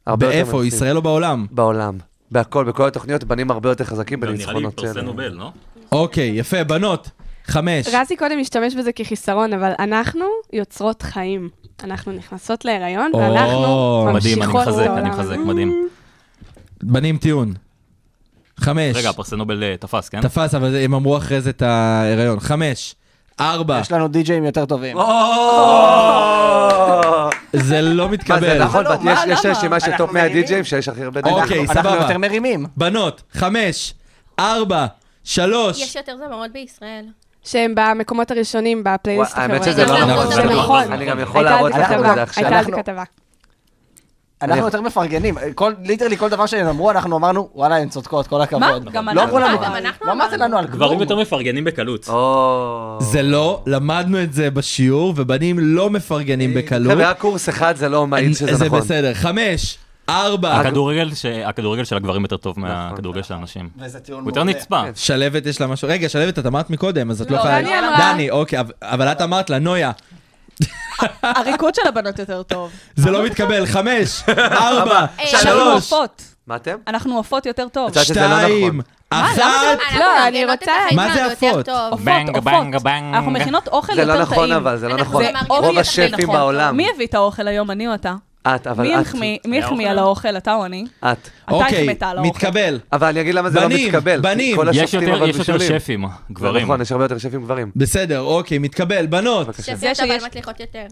S8: הרבה יותר
S4: באיפה,
S8: מנצחים.
S4: ישראל או בעולם?
S8: בעולם. בהכל, בכל התוכניות, בנים הרבה יותר חזקים
S7: גם נראה לי
S8: בניצחונות כן.
S7: פרסי נובל, לא?
S4: אוקיי, יפה, בנות. חמש.
S10: רזי קודם השתמש בזה כחיסרון, אבל אנחנו יוצרות חיים. אנחנו נכנסות להיריון,
S4: או,
S10: ואנחנו
S7: מדהים, אני
S10: ממשיכות את העולם.
S7: מחזק, אני מחזק, מדהים.
S4: בנים טיעון. חמש.
S7: רגע, פרסי נובל אה, תפס, כן?
S4: תפס, אבל זה- הם אמרו אחרי זה את ההיריון. חמש.
S5: אה,
S4: ארבע.
S6: יש לנו די-ג'אים יותר טובים.
S4: זה לא
S8: מה זה
S4: מתקבל.
S8: נכון,
S6: לא,
S8: בת-
S6: מה,
S8: יש- יש
S6: למה?
S8: רשימה של
S6: אנחנו
S8: טופ 100
S6: מרימים.
S8: די-ג'אים שיש הכי הרבה אה,
S4: אוקיי,
S8: די-ג'אים.
S6: אנחנו
S4: סבבה.
S6: יותר מרימים.
S4: בנות, חמש, ארבע,
S9: יש
S4: שלוש.
S9: יותר זמרות בישראל.
S10: שהם במקומות הראשונים בפלייליסט
S8: וואי, האמת
S10: החברתי.
S8: שזה
S9: לא נכון.
S10: זה
S9: נכון.
S10: נכון.
S8: אני גם יכול
S10: הייתה על
S8: להראות
S10: זה
S8: לכם את זה
S10: כתבה,
S8: עכשיו.
S10: הייתה על זה
S6: אנחנו-
S10: כתבה.
S6: אנחנו יותר מפרגנים, כל, ליטרלי כל דבר שהם אמרו, אנחנו אמרנו, וואלה, הן צודקות, כל הכבוד.
S5: מה? גם
S6: לא
S5: אנחנו
S6: אמרו לנו,
S5: אמרנו.
S9: גם אנחנו
S6: לא אמרת לנו על
S7: גברים
S6: כלום.
S7: יותר מפרגנים בקלות.
S8: או...
S4: זה לא, למדנו את זה בשיעור, ובנים לא מפרגנים בקלות.
S8: חבר'ה, היה קורס אחד, זה לא מעיד שזה
S4: זה
S8: נכון.
S4: בסדר. חמש, ארבע,
S7: הכדורגל ש- הכדורגל של הגברים יותר טוב מהכדורגל של הנשים.
S6: וזה טיעון
S7: הוא יותר
S6: מעולה.
S7: נצפה.
S4: שלוות יש לה משהו. רגע, שלוות, את אמרת מקודם, אז את לא
S5: לא,
S4: יכולה...
S5: דני אמרה.
S4: דני, אוקיי, אבל- אבל את אמרת לה, נויה,
S5: הריקוד של הבנות יותר טוב.
S4: זה לא מתקבל. חמש, ארבע,
S9: אה,
S5: אנחנו
S4: שלוש,
S5: עופות.
S8: מה אתם?
S5: אנחנו עופות יותר טוב.
S8: את יודעת שזה לא נכון.
S4: שתיים, אחת.
S9: אנחנו
S10: לא, אני
S9: מארגנות את
S10: רוצה-
S9: החיים
S4: מה זה
S9: שלנו יותר
S4: עופות?
S9: טוב.
S7: בנג,
S5: עופות,
S7: בנג,
S5: עופות.
S7: בנג.
S5: אנחנו מכינות אוכל
S8: זה
S5: יותר
S8: לא
S5: טעים.
S8: נכון, אבל זה לא
S9: אנחנו
S8: נכון.
S9: מארגנים
S8: רוב
S9: יותר
S8: השפים
S9: נכון.
S8: בעולם.
S5: מי הביא את האוכל היום, אני או אתה?
S8: את, אבל
S5: מי
S8: את.
S5: החמיא- מי החמיא על האוכל, אתה או אני?
S8: את.
S5: אתה לא,
S4: אוקיי,
S5: החמאת על האוכל.
S4: מתקבל.
S8: אבל אני אגיד למה זה לא
S4: בנים,
S8: מתקבל. כי
S4: בנים.
S8: כל
S7: יש
S8: השופטים
S7: יותר
S8: אבל
S7: יש יותר
S8: בישולים.
S7: שפים,
S8: זה
S7: גברים.
S8: נכון, יש הרבה יותר שפים גברים.
S4: בסדר, אוקיי, מתקבל. בנות.
S8: בבקשה.
S9: שפיות
S5: זה שיש-
S9: אבל מצליחות יותר.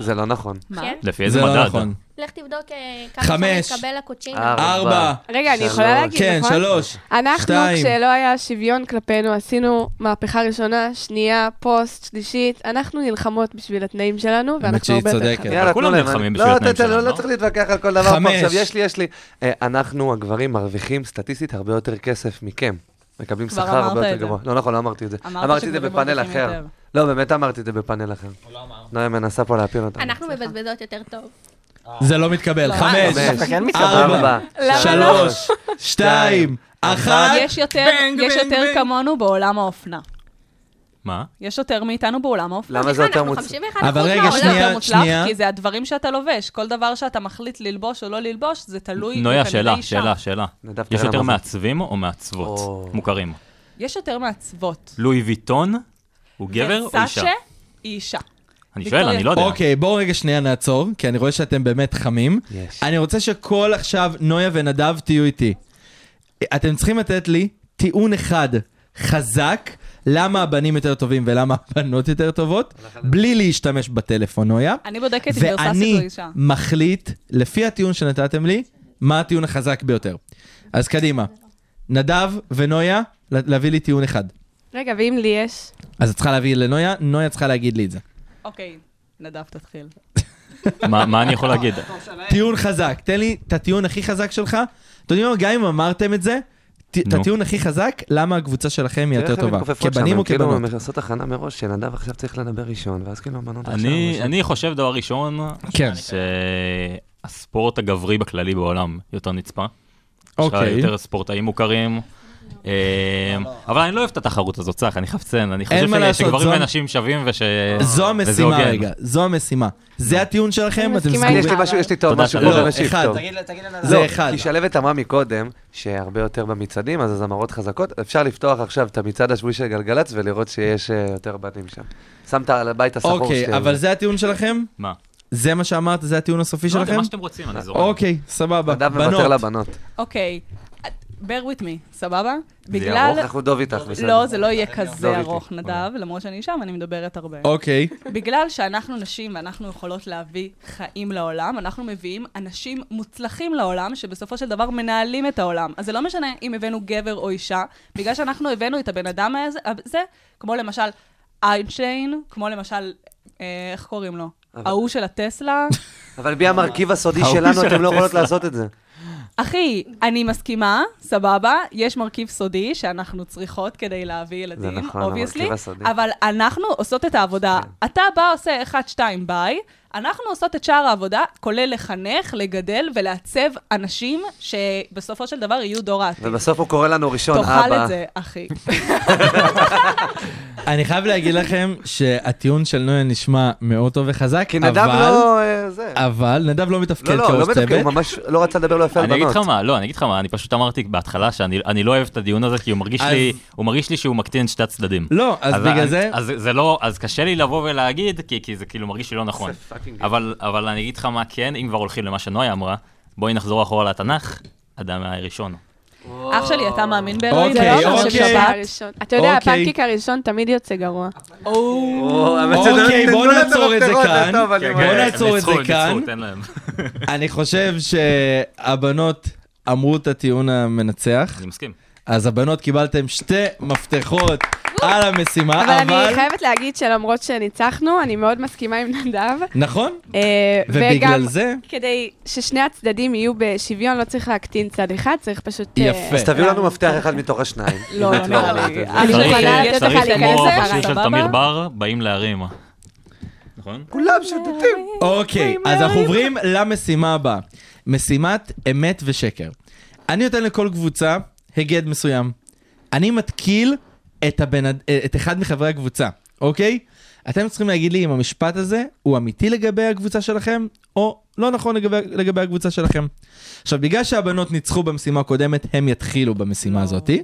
S8: זה לא נכון.
S5: מה?
S9: כן?
S7: לפי
S4: זה
S7: איזה
S4: לא
S7: מדד?
S4: נכון.
S9: לך תבדוק אה,
S4: חמש.
S9: כמה שם מקבל הקוצ'ינו.
S7: אה.
S4: ארבע.
S10: רגע, אני
S8: שלוש.
S10: יכולה להגיד,
S4: כן,
S10: נכון?
S4: שלוש.
S10: אנחנו,
S4: שתיים.
S10: כשלא היה שוויון כלפינו, עשינו מהפכה ראשונה, שנייה, פוסט, שלישית. אנחנו נלחמות בשביל התנאים שלנו,
S4: האמת
S10: ואנחנו
S4: שהיא
S10: הרבה יותר
S4: צודקת.
S10: חכמים.
S8: יאללה,
S7: כולם
S8: תנו להם.
S7: נלחמים
S8: אני-
S7: בשביל
S8: לא,
S7: התנאים
S8: אתה- אתה-
S7: שלנו,
S8: לא
S7: לא?
S8: צריך להתווכח על כל דבר פה
S4: חמש.
S8: עכשיו, יש לי, יש לי. אה, אנחנו, הגברים, מרוויחים סטטיסטית הרבה יותר כסף מכם. מקבלים
S5: כבר
S8: שכר הרבה
S5: אמרת
S8: יותר
S5: את זה.
S8: גבוה. לא נכון, לא אמרתי את זה.
S5: אמרת
S8: אמרתי את זה
S5: שגברים
S8: בפאנל
S5: מרוויחים
S8: אחר.
S5: יותר.
S8: לא, באמת אמרתי את זה בפאנל אחר. נויה מנסה פה להפיל אותנו.
S9: אנחנו מבזבזות יותר טוב.
S4: זה לא מתקבל. חמש,
S6: דווקא כן מתקבל.
S4: ארבע,
S5: לא?
S4: שלוש, לא, שתיים, אחת.
S5: יש יותר, יש יותר כמונו בעולם האופנה.
S7: מה?
S5: יש יותר מאיתנו בעולם האופנה.
S8: למה זה יותר
S9: אנחנו
S8: מוצ...
S9: 51%
S4: אבל רגע,
S9: מהעולם.
S5: זה
S4: שנייה,
S5: אה, יותר מוצלח,
S4: שנייה.
S5: כי זה הדברים שאתה לובש. כל דבר שאתה מחליט ללבוש או לא ללבוש, זה תלוי
S7: נויה,
S5: בכנראה
S7: שאלה,
S5: אישה.
S7: אה, שאלה, שאלה.
S8: נדב, תראה
S7: יש יותר
S8: למה זה-
S7: מעצבים או מעצבות
S8: או.
S7: מוכרים?
S5: יש יותר מעצבות.
S7: לואי ויטון הוא גבר או אישה?
S5: וסאצ'ה היא אישה.
S7: אני
S5: ויקטוריה.
S7: שואל, אני לא יודע.
S4: אוקיי, בואו רגע שנייה נעצור, כי אני רואה שאתם באמת חמים.
S8: יש.
S4: אני רוצה שכל עכשיו, נויה ונדב, תהיו איתי. אתם צריכים לתת לי טיעון אחד חזק, למה הבנים יותר טובים ולמה הבנות יותר טובות, בלי להשתמש בטלפון, נויה.
S5: אני בודקת אם ורססית או
S4: ואני
S5: אישה.
S4: מחליט, לפי הטיעון שנתתם לי, מה הטיעון החזק ביותר. אז קדימה. נדב ונויה, לה- להביא לי טיעון אחד.
S10: רגע, ואם לי יש?
S4: אז את צריכה להביא לנויה, נויה צריכה להגיד לי את זה.
S5: אוקיי, נדב, תתחיל.
S7: מה מה אני יכול להגיד?
S4: טיעון חזק, תן לי את הטיעון הכי חזק שלך. אתם יודעים מה, גם אם אמרתם את זה, ת- את
S7: נו.
S4: הטיעון הכי חזק, למה הקבוצה שלכם היא
S8: תראה
S4: יותר
S8: איך הן
S4: טובה.
S8: מתכופפות שם,
S4: כבנים או
S8: הן כאילו
S4: כבנות?
S8: הן עושות הכנה מראש, שנדב עכשיו צריך לדבר ראשון, ואז כאילו הבנות עכשיו...
S7: אני
S8: משהו.
S7: אני חושב דבר ראשון,
S4: כן.
S7: שהספורט הגברי בכללי בעולם יותר נצפה. יש לך
S4: אוקיי.
S7: יותר ספורטאים מוכרים. אה, אבל אני לא אוהב את התחרות הזאת, צח, אני חפצן, אני חושב
S4: מה
S7: ש-
S4: לעשות,
S7: שגברים
S4: זו-
S7: ונשים שווים וש... וזה
S4: זו המשימה
S7: הוגן.
S4: רגע, זו המשימה. זה הטיעון שלכם,
S10: אני
S4: אתם
S10: מסכימה
S8: יש
S4: סגורים.
S8: לי משהו, יש לי טוב,
S7: תודה,
S8: משהו
S7: תודה.
S8: טוב,
S7: לא,
S8: משהו
S4: אחד.
S8: טוב.
S6: תגיד לה- תגיד לה,
S4: זה
S8: לא,
S4: אחד.
S8: כי שלוות אמרה מקודם שהרבה יותר במצעדים, אז הזמרות חזקות. אפשר לפתוח עכשיו את המצעד השבועי של גלגלצ ולראות שיש אה, יותר בנים שם. שמת על הבית הסחור
S4: אוקיי, אבל זה הטיעון שלכם?
S7: מה?
S4: זה מה שאמרת, זה הטיעון הסופי
S7: לא, זה
S4: שלכם?
S7: מה שאתם רוצים, אני זורם.
S4: אוקיי, סבבה.
S8: נדב
S4: בנות.
S8: מוותר לבנות.
S5: אוקיי, bear with me, סבבה?
S8: זה יהיה
S5: בגלל...
S8: ארוך, אנחנו דוב איתך, בסדר.
S5: לא, זה לא יהיה
S8: לא,
S5: כזה
S8: ויטי.
S5: ארוך, נדב, למרות שאני אישה ואני מדברת הרבה.
S4: אוקיי,
S5: בגלל שאנחנו נשים ואנחנו יכולות להביא חיים לעולם, אנחנו מביאים אנשים מוצלחים לעולם, שבסופו של דבר מנהלים את העולם. אז זה לא משנה אם הבאנו גבר או אישה, בגלל שאנחנו הבאנו את הבן אדם הזה- הזה, כמו למשל איינשטיין, כמו למשל, אה, איך קוראים לו?
S8: אבל-
S5: ההוא של הטסלה.
S8: אבל בי המרכיב הסודי
S7: ההוא
S8: שלנו,
S7: של
S8: אתם לא
S7: הטסלה.
S8: יכולות לעשות את זה.
S5: אחי, אני מסכימה, סבבה, יש מרכיב סודי שאנחנו צריכות כדי להביא ילדים,
S8: זה נכון,
S5: obviously,
S8: המרכיב הסודי. כן.
S5: אבל אנחנו עושות את העבודה. אתה בא, עושה 1-2 ביי, אנחנו עושות את שאר העבודה, כולל לחנך, לגדל ולעצב אנשים שבסופו של דבר יהיו דור העתיד.
S8: ובסוף הוא קורא לנו ראשון,
S5: תאכל
S8: אבא.
S5: את זה, אחי.
S4: אני חייב להגיד לכם שהטיעון של נויה נשמע מאוד טוב וחזק,
S8: כי נדב
S4: אבל...
S8: לא... אה, זה.
S4: אבל נדב לא
S8: לא,
S4: מתפקד
S8: לא, לא
S4: כראש
S8: מדבר,
S4: צוות.
S8: הוא ממש לא רצה לדבר לא יפה על
S7: אני אגיד
S8: בנות.
S7: לך מה, לא, אני אגיד לך מה, אני פשוט אמרתי בהתחלה שאני אני לא אוהב את הדיון הזה, כי הוא מרגיש
S4: אז-
S7: לי- הוא מרגיש לי שהוא מקטין את שתי הצדדים.
S4: לא, אז בגלל
S7: אני-
S4: זה...
S7: אז זה לא, אז קשה לי לבוא ולהגיד, כי, כי זה כאילו מרגיש לי לא נכון.
S8: זה fucking
S7: אבל, אבל אני אגיד לך מה כן, אם כבר הולכים למה שנויה אמרה, בואי נחזור אחורה לתנ"ך, אדם היה ראשון.
S5: אח שלי, אתה מאמין באלוהים?
S4: אוקיי,
S5: זה לא אומר
S4: אוקיי.
S5: ששבת-
S10: הראשון. אתה יודע,
S4: אוקיי.
S10: הפנקיק הראשון תמיד יוצא גרוע.
S8: או, האמת שזה-
S4: אוקיי,
S8: תנו
S4: בוא
S8: לה את
S4: נעצור את זה
S8: המפתחות,
S4: כאן.
S8: טוב, אני אוקיי.
S4: בוא
S8: אומר.
S7: הם
S4: נעצור את
S7: ניצחו,
S4: זה
S7: הם ניצחו,
S4: כאן.
S7: תן להם.
S4: אני חושב שהבנות אמרו את הטיעון המנצח,
S7: אני מסכים.
S4: אז הבנות קיבלתם שתי מפתחות על המשימה,
S10: אבל אני
S4: אבל...
S10: חייבת להגיד שלמרות שניצחנו, אני מאוד מסכימה עם נדב.
S4: נכון?
S10: אה,
S4: ובגלל
S10: וגם
S4: זה,
S10: כדי ששני הצדדים יהיו בשוויון, לא צריך להקטין צד אחד, צריך פשוט... אה,
S4: יפה.
S8: אז תביאו לנו
S10: להעמיד
S8: מפתח
S10: צד
S8: אחד מתוך השניים.
S10: לא,
S8: אם
S10: לא
S8: את
S10: נראה
S8: אומרת
S10: לי.
S8: את זה.
S10: אני
S7: צריך-
S10: יכולה לתת לך
S7: צריך
S10: להיכנס
S7: כמו
S10: אחריי.
S7: השיר של
S5: סבבה?
S7: תמיר בר, באים להרים. נכון?
S8: כולם שותתים.
S4: אוקיי,
S10: אוי,
S4: אז אנחנו
S10: מהמם.
S4: עוברים למשימה הבאה. משימת אמת ושקר. אני נותן לכל קבוצה הגד מסוים. אני מתקיל את, הבן, אד- אה, את אחד מחברי הקבוצה, אוקיי? אתם צריכים להגיד לי אם המשפט הזה הוא אמיתי לגבי הקבוצה שלכם, או לא נכון לגבי, לגבי הקבוצה שלכם. עכשיו, בגלל שהבנות ניצחו במשימה הקודמת, הם יתחילו במשימה הזאתי.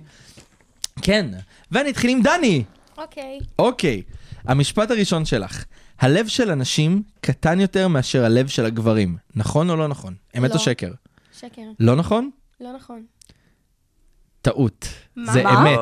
S4: כן, ואני אתחיל עם דני.
S9: אוקיי.
S4: אוקיי, המשפט הראשון שלך. הלב של הנשים קטן יותר מאשר הלב של הגברים. נכון או לא נכון? אמת
S9: לא.
S4: או שקר?
S9: שקר.
S4: לא נכון?
S9: לא נכון.
S4: טעות.
S9: מה?
S4: זה
S10: מה?
S4: אמת.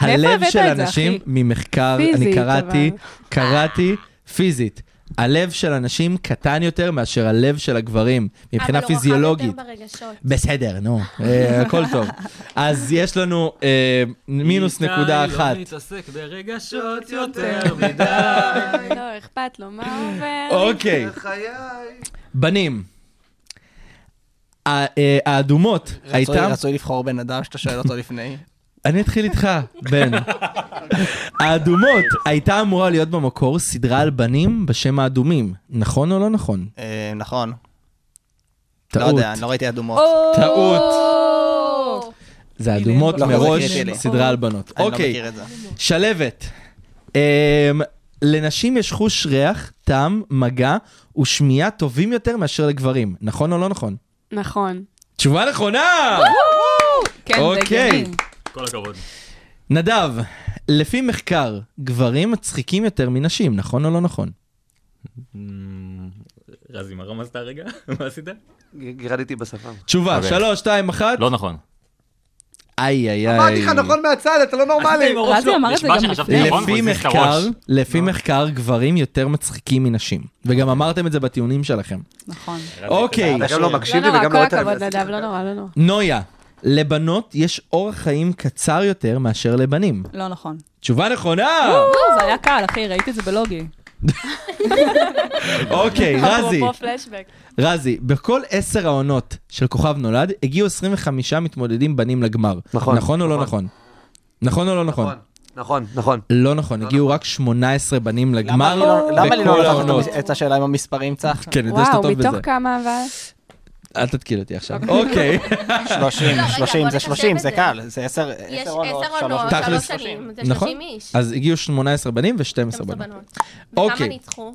S4: הלב
S10: הבאת
S4: של
S10: את זה,
S4: הנשים
S10: אחי?
S4: ממחקר, אני
S10: פיזית,
S4: קראתי, קראתי פיזית. הלב של הנשים קטן יותר מאשר הלב של הגברים, מבחינה פיזיולוגית.
S9: אבל הוא רחב יותר ברגשות.
S4: בסדר, נו, אה, הכל טוב. אז יש לנו אה, מינוס נקודה אחת.
S7: לא נתעסק ברגשות יותר מדי.
S10: לא, אכפת לו, מה עובר?
S4: אוקיי. בנים. ה- אה, האדומות
S6: רצוי-
S4: הייתה...
S6: רצוי לבחור בן אדם שאתה שואל אותו לפני.
S4: אני אתחיל איתך, בן. האדומות הייתה אמורה להיות במקור סדרה על בנים בשם האדומים. נכון או לא נכון?
S6: אה, נכון. לא
S4: טעות.
S6: יודע, אני לא ראיתי אדומות.
S4: טעות.
S9: או!
S4: זה האדומות
S6: Oh! לא, זה
S4: מראש
S6: קריטי לי.
S4: סדרה על בנות.
S6: אני לא
S4: אוקיי,
S6: מכיר את זה.
S4: שלבת. אמ, לנשים יש חוש ריח, טעם, מגע ושמיעה טובים יותר מאשר לגברים. נכון או לא נכון?
S10: נכון.
S4: תשובה נכונה!
S5: כן, זה
S4: אוקיי.
S5: הגיוני.
S7: כל הכבוד.
S4: נדב, לפי מחקר, גברים מצחיקים יותר מנשים, נכון או לא נכון?
S7: רזי, מה רמזת הרגע? מה עשית?
S8: גירדתי בשפה.
S4: תשובה,
S7: אוקיי.
S4: שלוש, שתיים, אחת.
S7: לא נכון.
S4: איי, איי, איי.
S8: אמרתי לך נכון מהצד, אתה לא נורמלי.
S5: רזי אמר את זה גם לפני.
S7: נכון, לא. הוא
S4: לפי
S7: הזיז את
S4: מחקר,
S7: הראש.
S4: לפי מחקר, גברים יותר מצחיקים מנשים. וגם אמרתם את זה בטיעונים שלכם.
S5: נכון.
S7: רזי,
S4: אוקיי.
S7: אתה
S8: אתה גם לא מקשיב
S10: לא
S8: לי
S10: נורא,
S8: וגם
S10: כל
S8: לא יותר.
S10: הכבוד, נדב, לא נורא, לא נורא.
S4: נויה, לבנות יש אורח חיים קצר יותר מאשר לבנים.
S5: לא נכון.
S4: תשובה נכונה!
S5: לא, זה היה קל, אחי, ראיתי את זה בלוגי.
S4: אוקיי, רזי,
S10: אפרופו פלשבק.
S4: רזי, בכל עשר העונות של כוכב נולד, הגיעו 25 מתמודדים בנים לגמר.
S8: נכון,
S4: נכון או לא נכון? נכון או לא נכון?
S8: נכון, נכון, נכון.
S4: לא נכון, הגיעו רק 18 בנים
S6: למה אני
S4: לגמר
S6: לא- למה אני לא
S4: בכל
S6: לקחת את
S4: העונות.
S6: המס- את השאלה עם המספרים צח?
S4: כן, אני יודע שאתה
S10: וואו,
S4: טוב
S10: מתוך
S4: בזה.
S10: כמה אבל?
S4: אל תתקיל אותי עכשיו. אוקיי,
S6: 30,
S9: רגע,
S6: 30,
S9: בוא
S6: זה
S9: נחשב
S6: 30,
S9: את
S6: זה
S9: זה.
S6: קל, זה 10
S9: יש
S6: עונות,
S9: עשר
S6: שלוש-
S9: עונות,
S4: תכלס.
S9: שלוש שנים, זה
S4: נכון.
S9: שלושים איש.
S4: אז הגיעו 18 בנים ו-12
S9: 12
S4: בנות.
S9: בנות. וכמה
S4: אוקיי.
S9: ניצחו?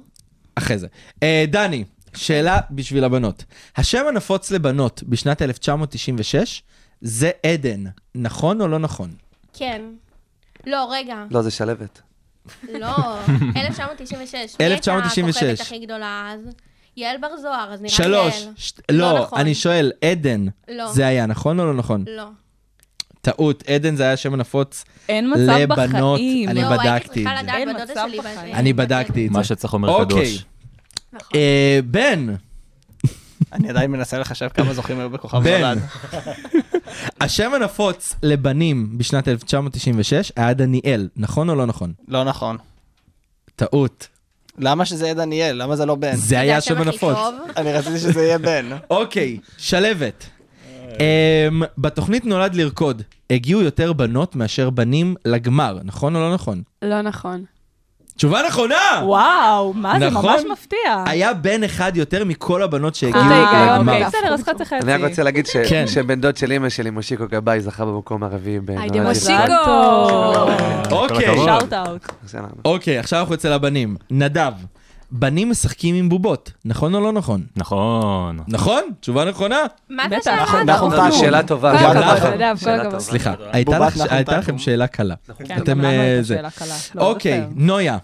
S4: אחרי זה. אה, דני, שאלה בשביל הבנות. השם הנפוץ לבנות בשנת 1996 זה עדן. נכון או לא נכון?
S9: כן. לא, רגע.
S8: לא, זה שלבת.
S9: לא, 1996.
S4: 1996.
S9: מי הייתה הכוכבת הכי גדולה אז? יעל בר זוהר, אז נראה לי
S4: שלוש.
S9: יעל.
S4: ש-
S9: לא
S4: לא,
S9: נכון.
S4: אני שואל, עדן,
S9: לא.
S4: זה היה נכון או לא נכון?
S9: לא. כן,
S4: טעות, עדן זה היה השם הנפוץ.
S5: אין מצב
S4: לבנות,
S5: בחיים.
S4: אני
S9: לא,
S4: בדקתי
S9: הייתי
S4: את
S9: צריכה
S4: זה.
S9: לדעת,
S5: אין
S9: בת דודה
S5: מצב
S9: שלי
S5: בחיים.
S9: בת-
S4: אני בדקתי את
S7: מה
S4: זה.
S7: שצריך אומר
S4: אוקיי.
S7: קדוש.
S9: נכון.
S4: אה, בן,
S6: אני עדיין מנסה לחשב כמה זוכים היו בכוכב
S4: בן.
S6: נולד.
S4: השם הנפוץ לבנים בשנת 1996 היה דניאל, נכון או לא נכון?
S6: לא נכון.
S4: טעות.
S6: למה שזה יהיה דניאל? למה זה לא בן?
S4: זה היה השם
S9: הכי
S4: הנפוץ.
S9: טוב.
S6: אני רציתי שזה יהיה בן.
S4: אוקיי, שלבת. אמ, בתוכנית נולד לרקוד, הגיעו יותר בנות מאשר בנים לגמר, נכון או לא נכון?
S10: לא נכון.
S4: תשובה נכונה!
S5: וואו, מה זה
S4: נכון?
S5: ממש מפתיע.
S4: היה בן אחד יותר מכל הבנות שהגיעו
S10: אה, ההיגיון,
S4: לגמר.
S10: אוקיי.
S5: בסדר, אז חצי חצי.
S8: אני רק רוצה להגיד ש-
S4: כן.
S8: שבן דוד של אמא שלי, מושיקו גבאי, זכה במקום הרביעי אה, בנולד
S10: דמושיקו.
S8: ישראל.
S4: אוקיי.
S7: כל הכבוד.
S5: שאוט אאוט.
S8: בסדר.
S4: אוקיי, עכשיו אנחנו אצל הבנים. נדב, בנים משחקים עם בובות, נכון או לא נכון?
S7: נכון.
S4: נכון? תשובה נכונה?
S9: מה
S5: בטח.
S9: זה שאלה?
S5: נכון,
S9: הזאת?
S6: נכון,
S8: אה, שאלה טובה.
S10: כל
S8: שאלה
S4: הכבוד,
S8: טובה.
S10: נדב, כל
S8: שאלה
S10: הכבוד.
S8: טובה.
S4: סליחה, הייתה
S6: בובת
S4: לך-
S6: נחום נכון.
S4: הייתה לכם
S6: תקום.
S4: שאלה קלה.
S5: כן,
S4: אתם,
S5: גם לנו
S4: אה,
S5: הייתה
S4: זה.
S5: שאלה קלה. לא, זה
S4: אוקיי,
S5: פייר.
S4: נויה,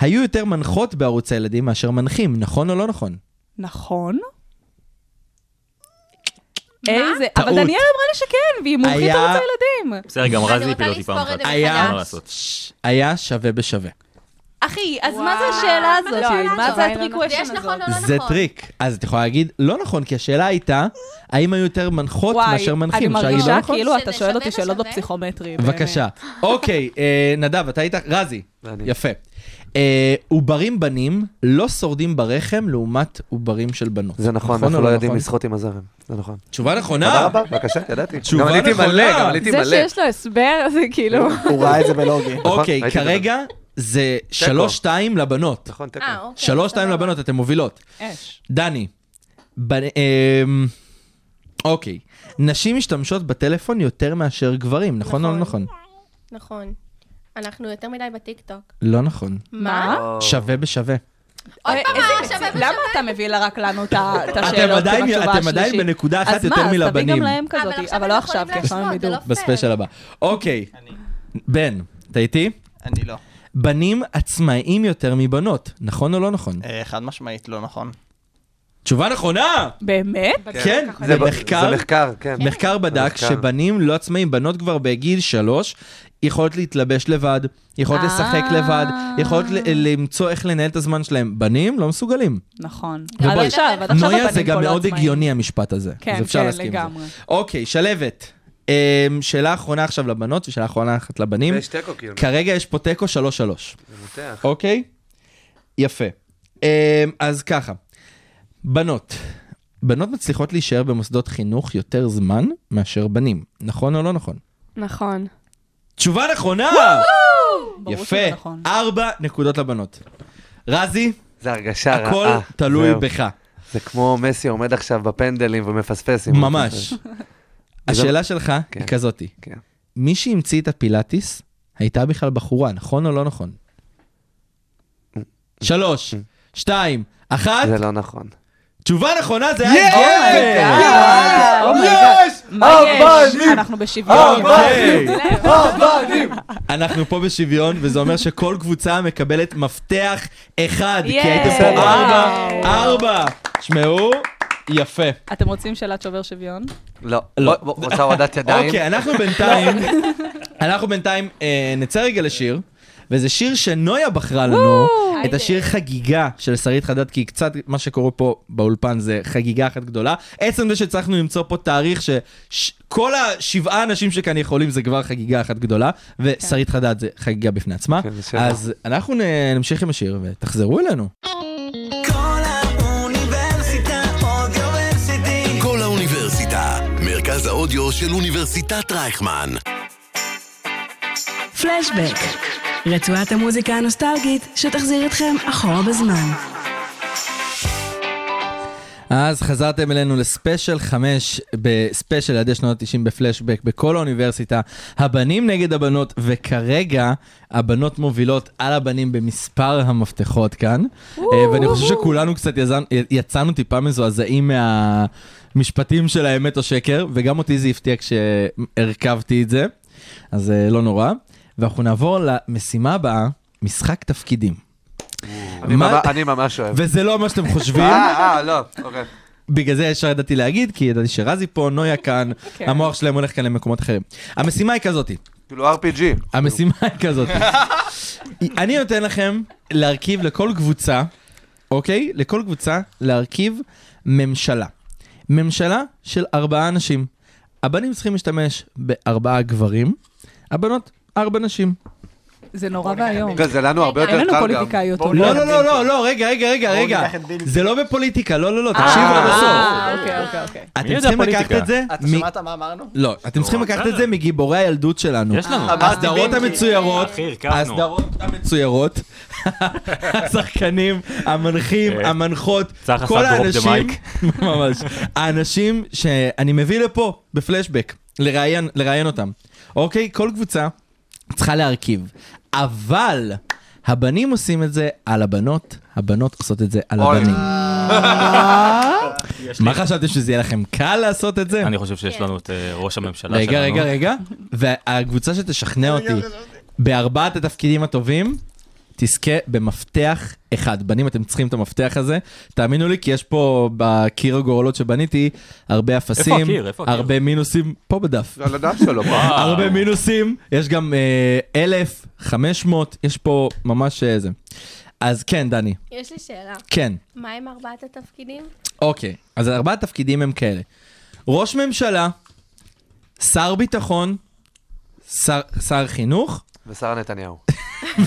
S4: היו יותר מנחות בערוץ הילדים מאשר מנחים, נכון או לא נכון?
S5: נכון. איזה, אבל
S4: טעות.
S5: דניאל אמרה לי שכן, והיא מומחית
S4: היה-
S5: ערוץ הילדים.
S7: בסדר, גם
S9: אני
S7: רזי
S9: רוצה
S7: הפיל אותי
S9: לספור
S7: פעם
S9: את
S7: אחת.
S9: זה
S4: היה-
S7: מה
S9: מחדש.
S7: לעשות?
S4: היה שווה בשווה.
S11: אחי, אז מה זה השאלה הזאת? מה זה
S9: ויש
S11: הטריקוושן
S9: נכון
S11: הזאת?
S9: או לא
S4: זה
S9: נכון.
S4: טריק. אז את יכולה להגיד לא נכון, כי השאלה הייתה, האם היו יותר מנחות מאשר
S5: אני
S4: מנחים? אפשר להגיד לא
S5: מרגישה
S4: נכון?
S5: כאילו אתה
S9: שזה
S5: שואל
S9: שווה
S5: אותי שאלות
S9: ושווה?
S5: בפסיכומטרי. באמת.
S4: בבקשה. אוקיי, אה, נדב, אתה היית? רזי.
S8: אני.
S4: יפה. אה, עוברים בנים לא שורדים ברחם לעומת עוברים של בנות.
S8: זה נכון,
S4: או
S8: אנחנו לא יודעים
S4: נכון?
S8: לשחות עם הזרם. זה נכון.
S4: תשובה
S8: תודה
S4: נכונה.
S8: רבה, בבקשה, ידעתי.
S4: תשובה
S8: גם עליתי
S4: נכונה.
S8: מלא, גם עליתי
S10: זה
S8: מלא.
S10: שיש לו הסבר, זה כאילו...
S6: הוא ראה את זה בלוגי.
S8: נכון,
S4: אוקיי,
S8: ראיתי את זה.
S4: כרגע זה 3-2 לבנות.
S8: נכון, תיקו.
S9: אה, אוקיי.
S4: 3-2
S9: סבבה.
S4: לבנות, אתן מובילות.
S5: אש.
S4: דני, בנ... אמ, אוקיי, נשים משתמשות בטלפון יותר מאשר גברים, נכון או לא נכון?
S9: נכון. נכון. אנחנו יותר מדי בטיקטוק.
S4: לא נכון.
S5: מה?
S4: שווה בשווה.
S9: עוד פעם,
S5: איזה
S9: אה,
S5: מציג.
S9: שווה ושווה.
S5: למה אתה מביא לה רק לנו את ה- את
S4: אתם
S5: השאלות
S4: עדיין,
S5: עם התשובה
S4: אתם עדיין
S5: השלישית?
S4: בנקודה אחת
S5: אז
S4: יותר
S5: מה, אז תביא
S4: מלבנים,
S5: גם להם
S9: אבל
S5: כזאת,
S9: עכשיו
S5: אבל לא
S9: הם לא
S5: עכשיו,
S9: יכולים
S5: כי עכשיו הם
S9: להשוות, זה
S5: ידעו.
S9: לא פייר.
S4: בספיישל הבא. אוקיי, בן, אתה איתי?
S6: אני לא.
S4: בנים עצמאיים יותר מבנות, נכון או לא נכון?
S6: אה, חד משמעית, לא נכון.
S4: תשובה נכונה!
S5: באמת?
S4: כן,
S8: זה
S4: זה
S8: ב-
S4: מחקר.
S8: זה מחקר, כן.
S4: מחקר בדק
S8: מחקר.
S4: שבנים לא עצמאים, בנות כבר בגיל שלוש, יכולות להתלבש לבד, יכולות
S5: אה.
S4: לשחק לבד, יכולות ל- למצוא איך לנהל את הזמן שלהם. בנים לא מסוגלים.
S5: נכון.
S4: ובואי,
S5: עד עכשיו, עד עכשיו
S4: נויה
S5: הבנים
S4: זה גם
S5: כל
S4: מאוד
S5: העצמאים.
S4: הגיוני המשפט הזה.
S5: כן,
S4: אז אפשר
S5: כן,
S4: להסכים עם זה.
S5: לגמרי.
S4: אוקיי, שלהבת. אמ, שאלה אחרונה עכשיו לבנות ושאלה אחרונה אחת לבנים.
S8: יש תיקו, כאילו.
S4: כרגע יש פה תיקו 3-3.
S8: זה מותח.
S4: אוקיי? יפה. אמ, אז ככה, בנות. בנות מצליחות להישאר במוסדות חינוך יותר זמן מאשר בנים, נכון או לא נכון?
S10: נכון.
S4: תשובה נכונה!
S5: ברור
S4: יפה,
S5: שזה נכון.
S4: ארבע נקודות לבנות. רזי,
S8: זה הרגשה רעה. אה,
S4: הכל תלוי
S8: זהו.
S4: בך,
S8: זה כמו מסי עומד עכשיו בפנדלים ומפספס. אם הוא
S4: ממש.
S8: מפספס.
S4: השאלה שלך
S8: כן.
S4: היא כזאתי,
S8: כן.
S4: מי שהמציא את הפילאטיס הייתה בכלל בחורה, נכון או לא נכון? שלוש, שתיים, אחת,
S8: Mm. זה לא נכון.
S4: תשובה נכונה זה היה גבר! אה, אוקיי,
S5: יש!
S8: Oh
S5: מה יש? אנחנו בשוויון.
S4: אנחנו פה בשוויון, וזה אומר שכל קבוצה מקבלת מפתח אחד, כי
S5: יאיי.
S4: הייתם פה ארבע, ארבע. שמעו, יפה.
S5: אתם רוצים שאלת שובר שוויון?
S8: לא. לא. רוצה הורדת ידיים?
S4: אוקיי, אנחנו בינתיים, אנחנו בינתיים אה, נצא רגע לשיר, וזה שיר שנויה בחרה לנו, את השיר חגיגה של שרית חדד, כי קצת מה שקורה פה באולפן זה חגיגה אחת גדולה. עצם זה שהצלחנו למצוא פה תאריך שכל השבעה אנשים שכאן יכולים זה כבר חגיגה אחת גדולה, ושרית חדד זה חגיגה בפני עצמה.
S8: כן, זה שלו.
S4: אז אנחנו נ- נמשיך עם השיר ותחזרו אלינו.
S2: כל האוניברסיטה, מרכז האודיו של אוניברסיטת רייכמן.
S3: פלשבק, רצועת המוזיקה הנוסטלגית שתחזיר אתכם אחורה בזמן.
S4: אז חזרתם אלינו לספיישל 5 בספיישל ידי שנות ה-90 בפלשבק בכל האוניברסיטה, הבנים נגד הבנות, וכרגע הבנות מובילות על הבנים במספר המפתחות כאן. אה, ואני חושב שכולנו קצת יזן- י- יצאנו טיפה מזועזעים מהמשפטים של האמת או שקר, וגם אותי זה הפתיע כשהרכבתי את זה, אז אה, לא נורא. ואנחנו נעבור למשימה הבאה, משחק תפקידים.
S8: אני
S4: מה-
S8: ממש- אני ממש אוהב.
S4: וזה לא מה שאתם חושבים.
S8: אה, אה, לא. אוקיי.
S4: בגלל זה ישר ידעתי להגיד, כי ידעתי שרזי פה, נויה כאן,
S6: אוקיי.
S5: כן.
S4: המוח שלהם הולך כאן למקומות אחרים. המשימה היא כזאתי,
S8: כאילו RPG.
S4: המשימה היא כזאתי. אני נותן לכם להרכיב לכל קבוצה, אוקיי? לכל קבוצה להרכיב ממשלה. ממשלה של ארבעה אנשים. הבנים צריכים להשתמש בארבעה גברים, הבנות, ארבע נשים.
S5: זה נורא ואיום.
S8: כן, זה לנו הרבה יותר קל
S5: אין
S8: גם.
S5: לנו פוליטיקאיות.
S6: בואו
S5: אולי.
S4: לא, לא, לא, לא, לא, רגע, רגע, רגע,
S6: בואו
S4: רגע.
S6: ניקח את בילבי.
S4: זה לא בפוליטיקה, לא, לא, לא, תקשיבו
S8: אה,
S4: עד הסוף.
S5: אה, אוקיי, אוקיי, אוקיי.
S4: אתם
S7: יודע
S4: צריכים לקחת
S7: פוליטיקה?
S4: את זה
S6: אתה
S4: מ-
S6: שמעת מה אמרנו?
S4: לא, אתם צריכים לקחת את זה מגיבורי הילדות שלנו.
S7: יש לנו.
S4: אה, הסדרות המצוירות,
S7: אחי, הרכבנו.
S4: הסדרות המצוירות, השחקנים, המנחים,
S7: כן.
S4: המנחות,
S7: צח
S4: כל
S7: עשה drop the
S4: האנשים, ממש, האנשים שאני מביא לפה בפלשבק, לראיין לראיין אותם. אוקיי? כל קבוצה צריכה להרכיב. אבל הבנים עושים את זה על הבנות, הבנות עושות את זה על
S8: אוי.
S4: הבנים. מה חשבתם שזה יהיה לכם קל לעשות את זה?
S7: אני חושב שיש לנו את אה, ראש הממשלה שלנו.
S4: רגע, רגע, רגע. והקבוצה שתשכנע אותי בארבעת התפקידים הטובים, תזכה במפתח אחד. בנים, אתם צריכים את המפתח הזה. תאמינו לי, כי יש פה בקיר הגורלות שבניתי הרבה אפסים.
S7: איפה הקיר? איפה הקיר? אה.
S4: הרבה מינוסים, פה בדף.
S8: על הדף שלו, וואו.
S4: הרבה מינוסים, יש גם אה, 1,500, יש פה ממש אה, זה. אז כן, דני.
S9: יש לי שאלה.
S4: כן.
S9: מה עם ארבעת התפקידים?
S4: אוקיי, אז ארבעה תפקידים הם כאלה. ראש ממשלה, שר ביטחון, שר, שר חינוך
S8: ושרה נתניהו.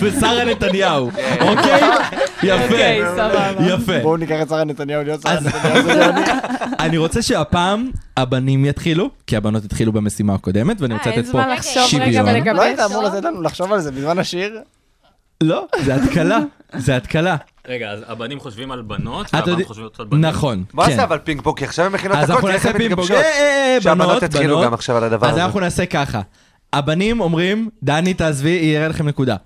S4: ושרה נתניהו, אוקיי?
S8: אוקיי,
S4: יפה,
S8: סבבה.
S4: יפה.
S6: בואו ניקח את שרה נתניהו להיות שרה
S4: אז-
S6: נתניהו. זה יוני.
S4: אני רוצה שהפעם הבנים יתחילו, כי הבנות התחילו במשימה הקודמת, ואני רוצה
S6: אה, אין
S4: לתת פה
S6: זמן לחשוב רגע
S4: שוויון.
S6: לא היית אמור לתת לנו לחשוב על זה בזמן השיר?
S4: לא, זה התקלה, זה התקלה.
S7: רגע, אז הבנים חושבים על בנות,
S4: אתה יודע-
S7: והבנות חושבות על בנים.
S4: נכון,
S8: מה
S4: כן.
S8: זה אבל פינג פונג? כי עכשיו הם מכינות
S4: אז
S8: לא, הכל,
S4: אנחנו
S8: תראה
S4: נעשה
S8: איך הן
S4: פינג פונג.
S8: מתגבשות.
S4: אה, אה, אה, בנות,
S8: שהבנות יתחילו
S4: בנות.
S8: לא גם עכשיו על הדבר
S4: אז
S8: הזה.
S4: אנחנו נעשה ככה. הבנים אומרים, דני תעזבי, יראה לכם נקודה.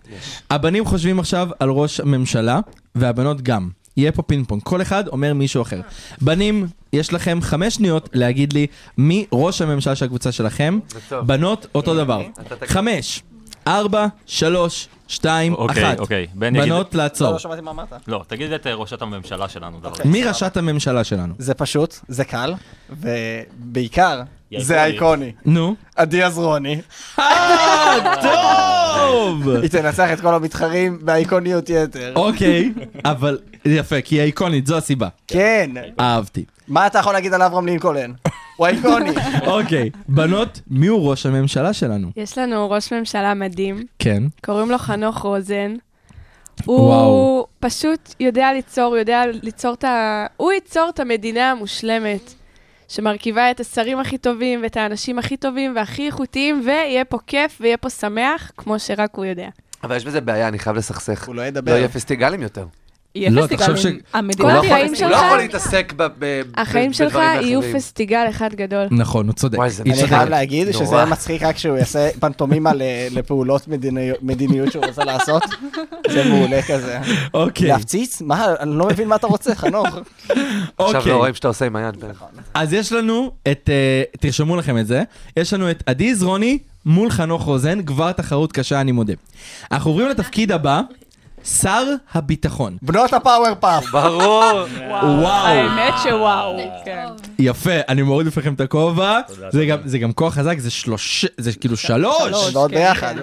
S4: הבנים חושבים עכשיו על ראש הממשלה, והבנות גם. יהיה פה פינג פונג, כל אחד אומר מישהו אחר. בנים, יש לכם חמש שניות להגיד לי מי ראש הממשלה של הקבוצה שלכם.
S8: טוב. Mm-hmm.
S4: בנות, אותו דבר. חמש, ארבע, שלוש, שתיים,
S7: אוקיי,
S4: אחת.
S7: אוקיי. בני, יגיד-
S4: בנות, לעצור.
S6: שמעתי מה אמרת.
S7: לא, תגיד את אה, ראשת הממשלה שלנו. דבר.
S4: מי ראשת הממשלה שלנו?
S6: זה פשוט, זה קל, ובעיקר,
S7: היא
S6: זה
S7: אייקונית.
S6: אייקוני.
S4: נו.
S6: עדי עזרוני.
S4: טוב!
S6: היא תנצח את כל המתחרים באיקוניות יתר.
S4: אוקיי, אבל יפה, כי היא איקונית, זו הסיבה.
S6: כן.
S4: אהבתי.
S6: מה אתה יכול להגיד על אברהם לינקולן? הוא אייקוני.
S4: אוקיי, בנות, מי הוא ראש הממשלה שלנו?
S10: יש לנו ראש ממשלה מדהים,
S4: כן.
S10: קוראים לו לא, חנוך רוזן.
S4: וואו.
S10: הוא פשוט יודע ליצור, הוא יודע ליצור את ה... הוא ייצור את המדינה המושלמת, שמרכיבה את השרים הכי טובים ואת האנשים הכי טובים והכי איכותיים, ויהיה פה כיף ויהיה פה שמח, כמו שרק הוא יודע.
S8: אבל יש בזה בעיה, אני חייב לסכסך. הוא
S6: לא
S8: לא יהיה פסטיגלים יותר.
S5: יהיה
S4: לא,
S5: פסטיגלים.
S4: תחשוב ש-
S5: המדינה
S10: כל
S5: תהיה
S10: החיים
S5: פסטיגל.
S8: הוא לא יכול להתעסק ב- ב- ב-
S10: החיים
S8: בדברים
S10: שלך יהיו
S8: אחרים.
S10: פסטיגל אחד גדול.
S4: נכון, הוא צודק.
S8: וואי, זה
S4: היא
S6: אני
S4: צודקת.
S6: חייב להגיד
S8: נורא.
S6: שזה מצחיק רק שהוא יעשה פנטומימה ל- לפעולות מדיני- מדיניות שהוא רוצה לעשות. זה מעולה כזה.
S4: אוקיי.
S6: להפציץ? מה? אני לא מבין מה אתה רוצה, חנוך.
S8: עכשיו
S4: אוקיי.
S8: לא רואים שאתה עושה עם היד. בן.
S4: אז יש לנו את, אה, תרשמו לכם את זה, יש לנו את עדי זרוני מול חנוך רוזן, כבר תחרות קשה, אני מודה. אנחנו עוברים לתפקיד הבא, שר הביטחון.
S6: בנות הפאוור פאפ.
S8: ברור.
S4: וואו.
S5: האמת שוואו, כן.
S4: יפה, אני מוריד בפניכם את הכובע, זה גם- זה גם כוח חזק, זה שלוש, זה כאילו שלוש.
S5: שלוש,
S6: בנות
S5: כן,
S6: ביחד.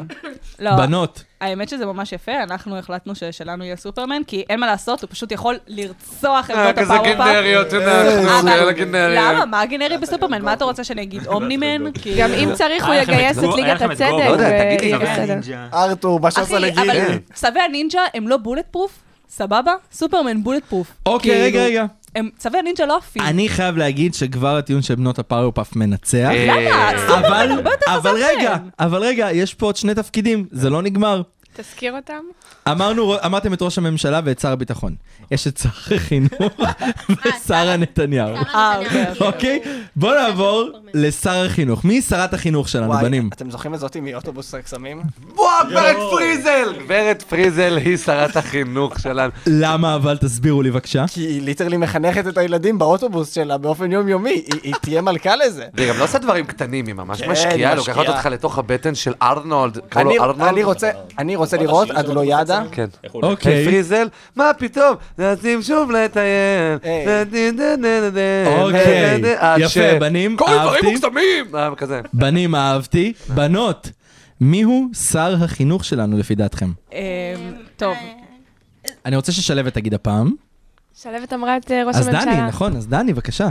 S5: לא,
S4: בנות.
S5: האמת שזה ממש יפה, אנחנו החלטנו ששלנו יהיה סופרמן, כי אין מה לעשות, הוא פשוט יכול לרצוח עמדות
S8: כזה
S5: הפאוור פאפ.
S8: גנריות, אנחנו,
S5: אבל
S8: אלה גנריות.
S5: למה? מה הגנרי בסופרמן? מה אתה רוצה שאני אגיד? אומנימן? כאילו-
S10: גם אם צריך, הוא
S7: היה לכם את
S10: יגייס את
S7: גו- היה
S10: ליגת
S7: לכם את גו-
S10: הצדק,
S7: לא יודע,
S8: תגיד לי,
S10: ויהיה
S8: אבל
S10: בסדר.
S6: ארתור, מה שעשה
S5: אחי,
S6: לגיל.
S5: אבל צווי הנינג'ה הם לא בולט פרוף? סבבה? סופרמן בולט פרוף.
S4: אוקיי, רגע, רגע.
S5: צווי הנינג'ה לא עפים.
S4: אני חייב להגיד שכבר הטיעון של בנות הפאוורפאף מנצח.
S5: למה?
S8: אה,
S4: אבל,
S5: סופרמן הרבה יותר חזק
S4: אבל רגע,
S5: מהם.
S4: אבל רגע, יש פה עוד שני תפקידים, זה לא נגמר.
S10: תזכיר אותם.
S4: אמרנו, אמרתם את ראש הממשלה ואת שר הביטחון. יש את שר החינוך ושרה נתניהו.
S5: אה, אוקיי. אוקיי.
S4: אוקיי? בוא נעבור לשר החינוך. מי שרת החינוך שלנו,
S6: וואי,
S4: בנים?
S6: אתם זוכרים את זאתי מאוטובוס הקסמים?
S8: וואו, גברת פריזל! גברת פריזל היא שרת החינוך שלנו.
S4: למה אבל? תסבירו לי בבקשה.
S6: כי היא ליטרלי מחנכת את הילדים באוטובוס שלה באופן יומיומי, היא- היא תהיה מלכה לזה.
S8: והיא גם לא עושה דברים קטנים, היא ממש
S6: כן,
S8: משקיעה,
S6: היא
S8: לוקחת
S6: משקיעה.
S8: אותך לתוך הבטן של ארנולד. קראו
S6: אני-
S8: לו ארנולד?
S6: אני רוצה- אני רוצה לראות עד לא ידה.
S8: כן.
S4: אוקיי.
S8: פריזל, מה פתאום? נעשים שוב לטייל.
S6: היי.
S4: אוקיי.
S8: עד
S4: יפה,
S8: ש-
S4: בנים,
S8: קוראים דברים
S4: אהבתי.
S8: מוקסמים! אה, כזה.
S4: בנים, אהבתי. בנות, מיהו שר החינוך שלנו לפי דעתכם?
S5: אמ, טוב,
S4: אני רוצה ששלוות תגיד הפעם.
S10: שלוות אמרה את אה, ראש
S4: אז
S10: הממשלה.
S4: דני, נכון, אז דני, בבקשה.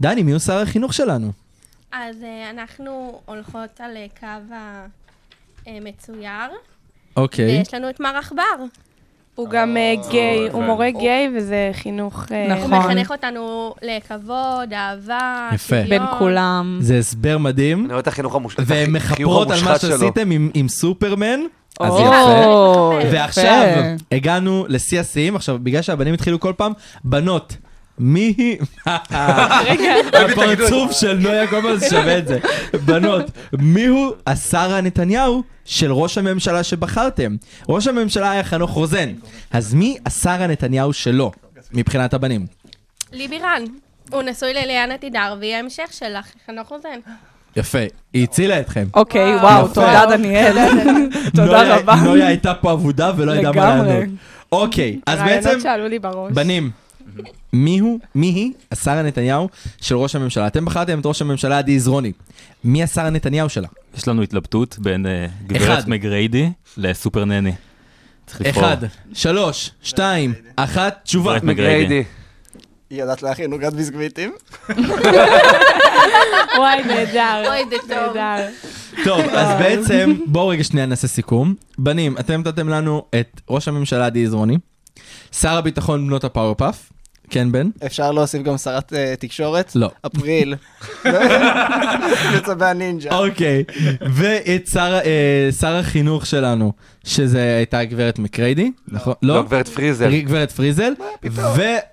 S4: דני, מיהו שר החינוך שלנו?
S9: אז אה, אנחנו הולכות על אה, קו המצויר,
S4: אוקיי.
S9: ויש לנו את מר עכבר.
S10: הוא גם אה, גיי, הוא
S7: כן.
S10: מורה גיי, וזה חינוך... אה,
S9: הוא מחנך אותנו לכבוד, אהבה,
S4: נכון. יפה.
S9: שוויון. נכון.
S5: בין כולם.
S4: זה הסבר מדהים.
S8: אני רואה את החינוך המוש- את
S4: והן
S8: החי- החיוך
S4: מכפרות על מה
S8: המושחת שלו.
S4: שעשיתם עם, עם סופרמן, אז
S5: או,
S4: יפה.
S5: יפה.
S4: ועכשיו הגענו לשיא השיאים, עכשיו בגלל שהבנים התחילו כל פעם, בנות. מי היא? הפרצוף של נויה גומל זה שווה את זה. בנות, מיהו השר הנתניהו של ראש הממשלה שבחרתם? ראש הממשלה היה חנוך רוזן, אז מי השר הנתניהו שלו, מבחינת הבנים?
S9: ליבי רן. הוא נשוי לליאנה תידר, והיא ההמשך של חנוך רוזן.
S4: יפה, היא הצילה אתכם.
S5: אוקיי, וואו,
S4: יפה.
S5: תודה, דניאל. תודה
S4: נויה-
S5: רבה.
S4: נויה הייתה פה אבודה ולא ידעה מה
S5: לגמרי.
S4: לענות. אוקיי, אז בעצם,
S10: רעיונות שעלו לי בראש.
S4: בנים, מי הוא, מי היא השרה נתניהו של ראש הממשלה? אתם בחרתם את ראש הממשלה עדי עזרוני. מי השרה נתניהו שלה?
S7: יש לנו התלבטות בין אה, גברת
S4: אחד.
S7: מגריידי לסופר נני. צריך לבחור.
S4: אחד, שלוש, שתיים, אחת, תשובה.
S7: גברת מגריידי. מגריידי.
S6: היא יודעת להכין עוגת ביסקוויטים?
S10: וואי, נהדר.
S11: אוי, זה טוב.
S10: נהדר.
S4: טוב, אז בעצם, בואו רגע שנייה נעשה סיכום. בנים, אתם נתתם לנו את ראש הממשלה עדי עזרוני, שר הביטחון בנות הפאורפאף, כן בן?
S6: אפשר להוסיף גם שרת אה, תקשורת?
S4: לא.
S6: אפריל. מצבי הנינג'ה.
S4: אוקיי, ואת שר, אה, שר החינוך שלנו, שזה הייתה גברת מקריידי, נכון?
S8: לא, גברת פריזר.
S4: גברת פריזל,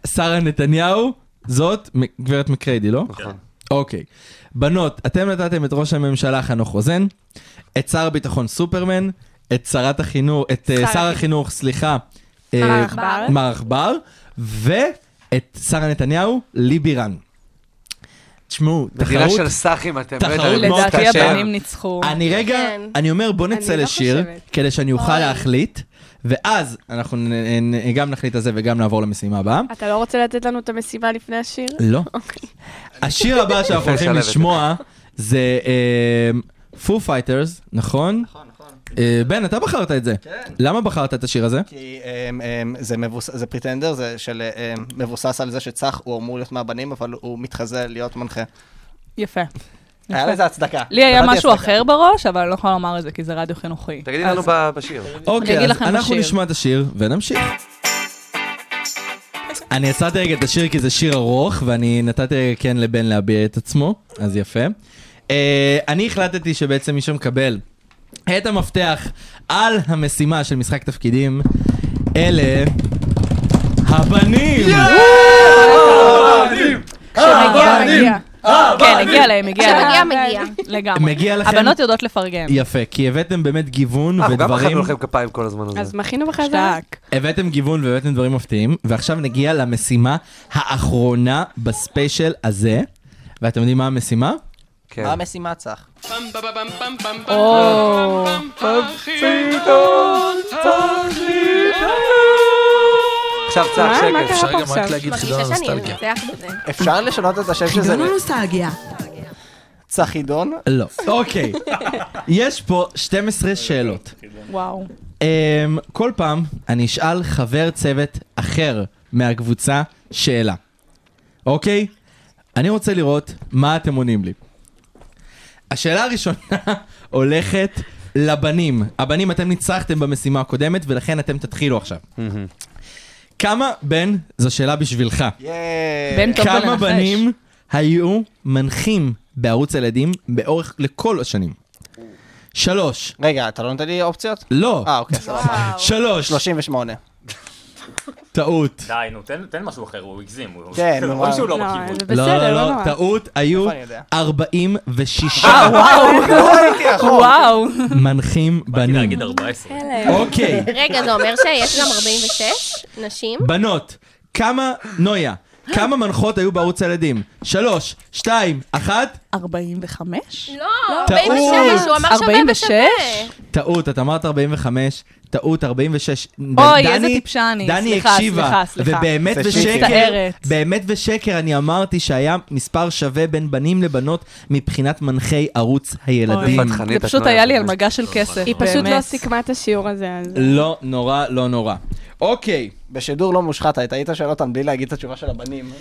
S4: ושרה נתניהו, זאת מ- גברת מקריידי, לא?
S8: נכון.
S4: אוקיי. בנות, אתם נתתם את ראש הממשלה חנוך רוזן, את שר הביטחון סופרמן, את שרת החינוך, את אה,
S10: שר
S4: שר
S10: החינוך.
S4: החינוך, סליחה, אה,
S10: מר עכבר.
S4: מר עכבר, ואת שרה נתניהו, ליבי רן. תשמעו,
S8: מדינה
S4: תחרות
S8: של סאחים אתם, לא
S4: תחרות
S8: יודעים.
S4: מאוד
S5: לדעתי
S4: קשה.
S5: הבנים ניצחו.
S4: אני רגע,
S10: כן.
S4: אני אומר בוא נצא
S10: אני לא
S4: לשיר,
S10: חושבת.
S4: כדי שאני אוכל
S10: אוי.
S4: להחליט, ואז אנחנו נ- נ- גם נחליט על זה וגם נעבור למשימה הבאה.
S10: אתה לא רוצה לתת לנו את המשימה לפני השיר? אוקיי.
S4: לא. השיר הבא שאנחנו הולכים
S8: נשלב את זה.
S4: לשמוע זה פו פייטרס, נכון? נכון, נכון. בן, אתה בחרת את זה. למה בחרת את השיר הזה?
S6: כי אמ, אמ, זה מבוס- זה פריטנדר, זה של אה, אמ, מבוסס על זה שצח הוא אמור להיות מהבנים, אבל הוא מתחזה להיות מנחה.
S5: יפה.
S6: היה לזה הצדקה.
S5: לי היה
S6: נתתי
S5: משהו
S6: הצדקה.
S5: אחר בראש, אבל אני לא יכולה לומר את זה, כי זה רדיו חינוכי.
S8: תגידי לנו
S5: אז-
S8: ב- בשיר.
S5: אני
S4: אוקיי, אז
S5: אגיד לכם
S4: אנחנו
S5: בשיר.
S4: נשמע את השיר ונמשיך. אני עצרתי רגע את השיר כי זה שיר ארוך, ואני נתתי רגע כן לבן להביע את עצמו, אז יפה. אה, אני החלטתי שבעצם מי שמקבל את המפתח על המשימה של משחק תפקידים, אלה הבנים!
S8: אה,
S5: כשמגיע,
S10: מגיע.
S5: מגיע. כן, הגיע להם, הגיע
S11: כשמגיע,
S5: להם.
S11: מגיע.
S5: לגמרי.
S4: מגיע לכם...
S5: הבנות יודעות לפרגן.
S4: יפה, כי הבאתם באמת גיוון
S8: אנחנו אה, גם
S4: ודברים...
S8: אכלנו לכם כפיים כל הזמן הזה.
S10: אז מחינו בחזרה.
S5: שטק.
S4: הבאתם גיוון והבאתם דברים מפתיעים, ועכשיו נגיע למשימה האחרונה בספיישל הזה. ואתם יודעים מה המשימה?
S8: כן.
S6: מה המשימה צח?
S5: או,
S8: עכשיו צח
S10: מה? מה
S8: שקט.
S10: קרה פה עכשיו?
S11: מרגישה שאני אנצח בזה.
S6: אפשר לשנות את השם שזה
S3: חידון הנוסטלגיה.
S6: צחידון?
S4: לא. אוקיי. יש פה 12 שאלות.
S5: וואו.
S4: אמ, כל פעם אני אשאל חבר צוות אחר מהקבוצה שאלה. אוקיי? אני רוצה לראות מה אתם עונים לי. השאלה הראשונה הולכת לבנים. הבנים, אתם ניצחתם במשימה הקודמת, ולכן אתם תתחילו עכשיו. כמה, בן, זו שאלה בשבילך.
S6: ייי.
S5: בן טוב
S4: כמה
S5: בלנחש.
S4: בנים היו מנחים בערוץ הילדים באורך לכל השנים? שלוש.
S6: רגע, אתה לא נותן לי אופציות?
S4: לא.
S6: אה, אוקיי, סבבה.
S4: שלוש.
S6: 38.
S4: טעות.
S7: די, נו, תן תן משהו אחר, הוא הגזים. הוא-
S6: כן, נו,
S7: רואים שהוא לא
S10: לא,
S7: בכיוון.
S10: זה
S4: לא,
S10: בסדר,
S4: לא,
S10: לא
S4: לא,
S10: נורא.
S4: טעות, היו
S6: איפה אני יודע? אה,
S4: 46
S5: וואו.
S4: מנחים
S7: באתי
S4: בנים.
S7: להגיד 14.
S4: אוקיי,
S11: רגע, זה אומר שיש גם 46 נשים?
S4: בנות, כמה, נויה, כמה מנחות היו בערוץ הילדים? שלוש, שתיים, אחת,
S5: 45?
S11: לא,
S4: טעות.
S11: 46, הוא אמר שווה
S5: 46?
S11: בשווה.
S4: טעות, את אמרת 45, טעות 46.
S5: אוי,
S4: דני-
S5: איזה טיפשה אני.
S4: דני
S5: סליחה,
S4: הקשיבה,
S5: סליחה, סליחה.
S4: ובאמת
S6: זה
S4: ושקר,
S5: מצטערת.
S4: באמת ושקר אני אמרתי שהיה מספר שווה בין בנים לבנות מבחינת מנחי ערוץ הילדים.
S8: אוי. חנית,
S5: זה
S8: את
S5: פשוט
S8: לא
S5: היה לי על
S8: יודעת.
S5: מגע של כסף, אה,
S10: היא פשוט לא סיכמה את השיעור הזה, אז...
S4: לא נורא, לא נורא. אוקיי,
S6: בשידור לא מושחת, אתה היית שואל אותם בלי להגיד את התשובה של הבנים.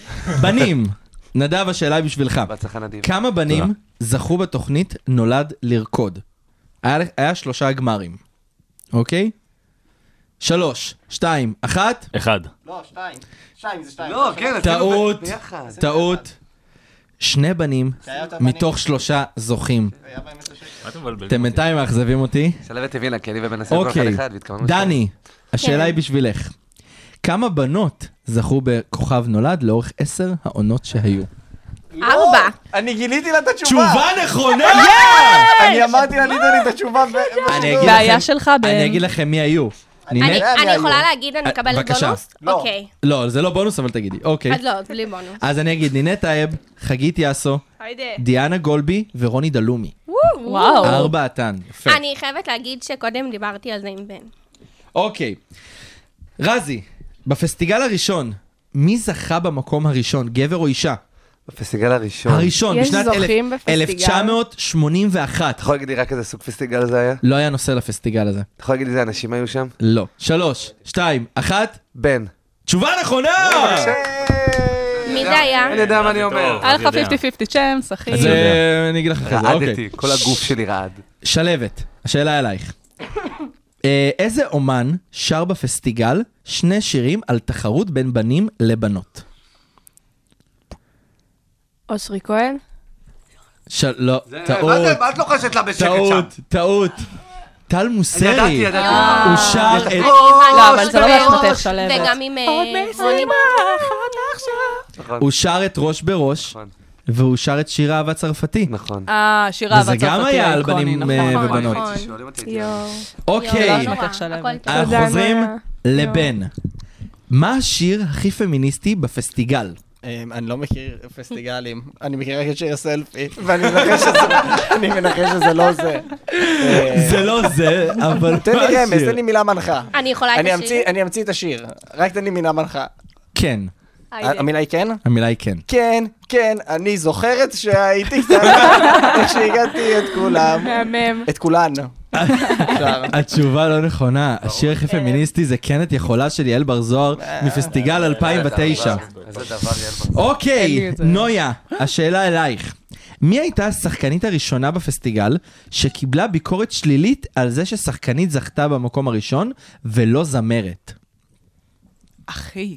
S4: בנים, נדב, השאלה היא בשבילך.
S8: בהצלחה נדיב.
S4: כמה בנים זכו בתוכנית נולד לרקוד? היה, היה שלושה גמרים, אוקיי? שלוש, שתיים, אחת,
S7: אחד.
S6: לא, שתיים. שתיים זה שתיים.
S8: לא, כן, עשינו
S4: טעות,
S8: ב- ביחד.
S4: טעות. שני בנים
S6: היה יותר בנים.
S4: מתוך שלושה זוכים.
S6: היה בהם את השקר.
S7: מה אתם מבלבלים?
S4: אתם בינתיים מאכזבים אותי.
S8: שלוות הבינה, כי אני ובן עשינו כל אחד
S4: אוקיי,
S8: אחד, והתכוונו...
S4: דני, השאלה
S11: כן.
S4: היא בשבילך. כמה בנות זכו בכוכב נולד לאורך עשר העונות שהיו?
S11: ארבע.
S6: אני גיליתי לה את התשובה.
S4: תשובה נכונה!
S6: אני אמרתי לה, ליטרלי את התשובה. ב-
S11: כן,
S4: אני אגיד
S5: בעיה
S4: לכם-
S5: שלך, בן.
S4: אני אגיד לכם מי היו. נינת?
S9: אה.
S11: אני- אני יכולה
S7: לא.
S11: להגיד
S7: אה,
S11: אני מקבלת
S4: בבקשה.
S11: בונוס? אוקיי.
S4: לא, זה לא בונוס, אבל תגידי. אוקיי.
S11: אז לא, אז בלי בונוס.
S4: אז אני אגיד, נינת טייב, חגית יאסו,
S11: היידה.
S4: דיאנה גולבי ורוני דלומי.
S11: וואו.
S4: ארבעתן, יפה.
S11: אני חייבת להגיד שקודם דיברתי על זה עם
S5: לא,
S11: בן.
S4: אוקיי. רזי, בפסטיגל הראשון, מי זכה במקום הראשון, גבר או אישה?
S8: בפסטיגל הראשון.
S4: הראשון,
S10: יש
S4: בשנת
S10: זוכים
S4: אלף-
S10: בפסטיגל?
S4: 1981.
S8: אתה יכול להגיד לי רק איזה סוג פסטיגל זה היה?
S4: לא היה נושא לפסטיגל הזה.
S8: אתה יכול להגיד לי איזה אנשים היו שם?
S4: לא. שלוש, שתיים, אחת.
S8: בן.
S4: תשובה נכונה!
S11: מי
S5: אה,
S11: זה
S9: כן,
S11: היה?
S8: אני יודע מה אני אומר.
S5: היה לך 50-50 צ'אנס, אחי.
S4: אז אה, אני אגיד לך אחרי זה, אוקיי.
S8: רעדתי, כל הגוף שלי רעד.
S4: שלהבת, השאלה אלייך. אה, איזה אומן שר בפסטיגל שני שירים על תחרות בין בנים לבנות?
S10: אושרי כהן?
S4: של... לא, טעות.
S8: אה, מה זה, מה את לוחשת לה בשקט שם?
S4: טעות, טעות. טל מוסרי.
S8: ידעתי, ידעתי.
S4: הוא שר את...
S5: לא, אבל זה לא באשמתך שלהבת.
S11: וגם עם... אה, רוני-
S5: אה,
S4: הוא שר את ראש בראש,
S8: נכון.
S4: והוא שר את שיר אהבה צרפתי.
S8: נכון.
S5: אה, שירה,
S4: וזה גם היה על בנים אה,
S11: נכון,
S4: ובנות.
S11: נכון.
S8: שואלים אותי, הייתי אומר.
S10: יואו.
S11: יואו,
S4: אוקיי,
S11: לא נורא,
S5: מתח שלהבת.
S11: הכל טוב.
S4: אנחנו
S10: תודה,
S4: חוזרים
S10: נויה.
S4: לבן. מה השיר הכי פמיניסטי בפסטיגל?
S11: כן.
S6: אמ, אני לא מכיר פסטיגלים, אני מכיר רק את שיר סלפי, ואני מנחש שזה- אני מנחש שזה לא זה. אה,
S4: זה לא זה, אבל מה השיר?
S6: תן לי רמז, תן לי מילה מנחה.
S11: אני יכולה את
S6: אני
S11: השיר?
S6: אמציא- אני אמציא את השיר, רק תן לי מילה מנחה.
S4: כן,
S11: היידה.
S6: המילה היא כן?
S4: המילה היא כן.
S6: כן, כן, אני זוכרת שהייתי קטנה, איך שהגעתי את כולם.
S10: מהמם.
S6: את כולן. אפשר.
S4: התשובה לא נכונה, השיר הכי פמיניסטי זה כן את יכולה של יעל בר זוהר מפסטיגל 2009.
S8: איזה דבר, יאללה.
S4: אוקיי, נויה, השאלה אלייך. מי הייתה השחקנית הראשונה בפסטיגל שקיבלה ביקורת שלילית על זה ששחקנית זכתה במקום הראשון ולא זמרת?
S5: אחי.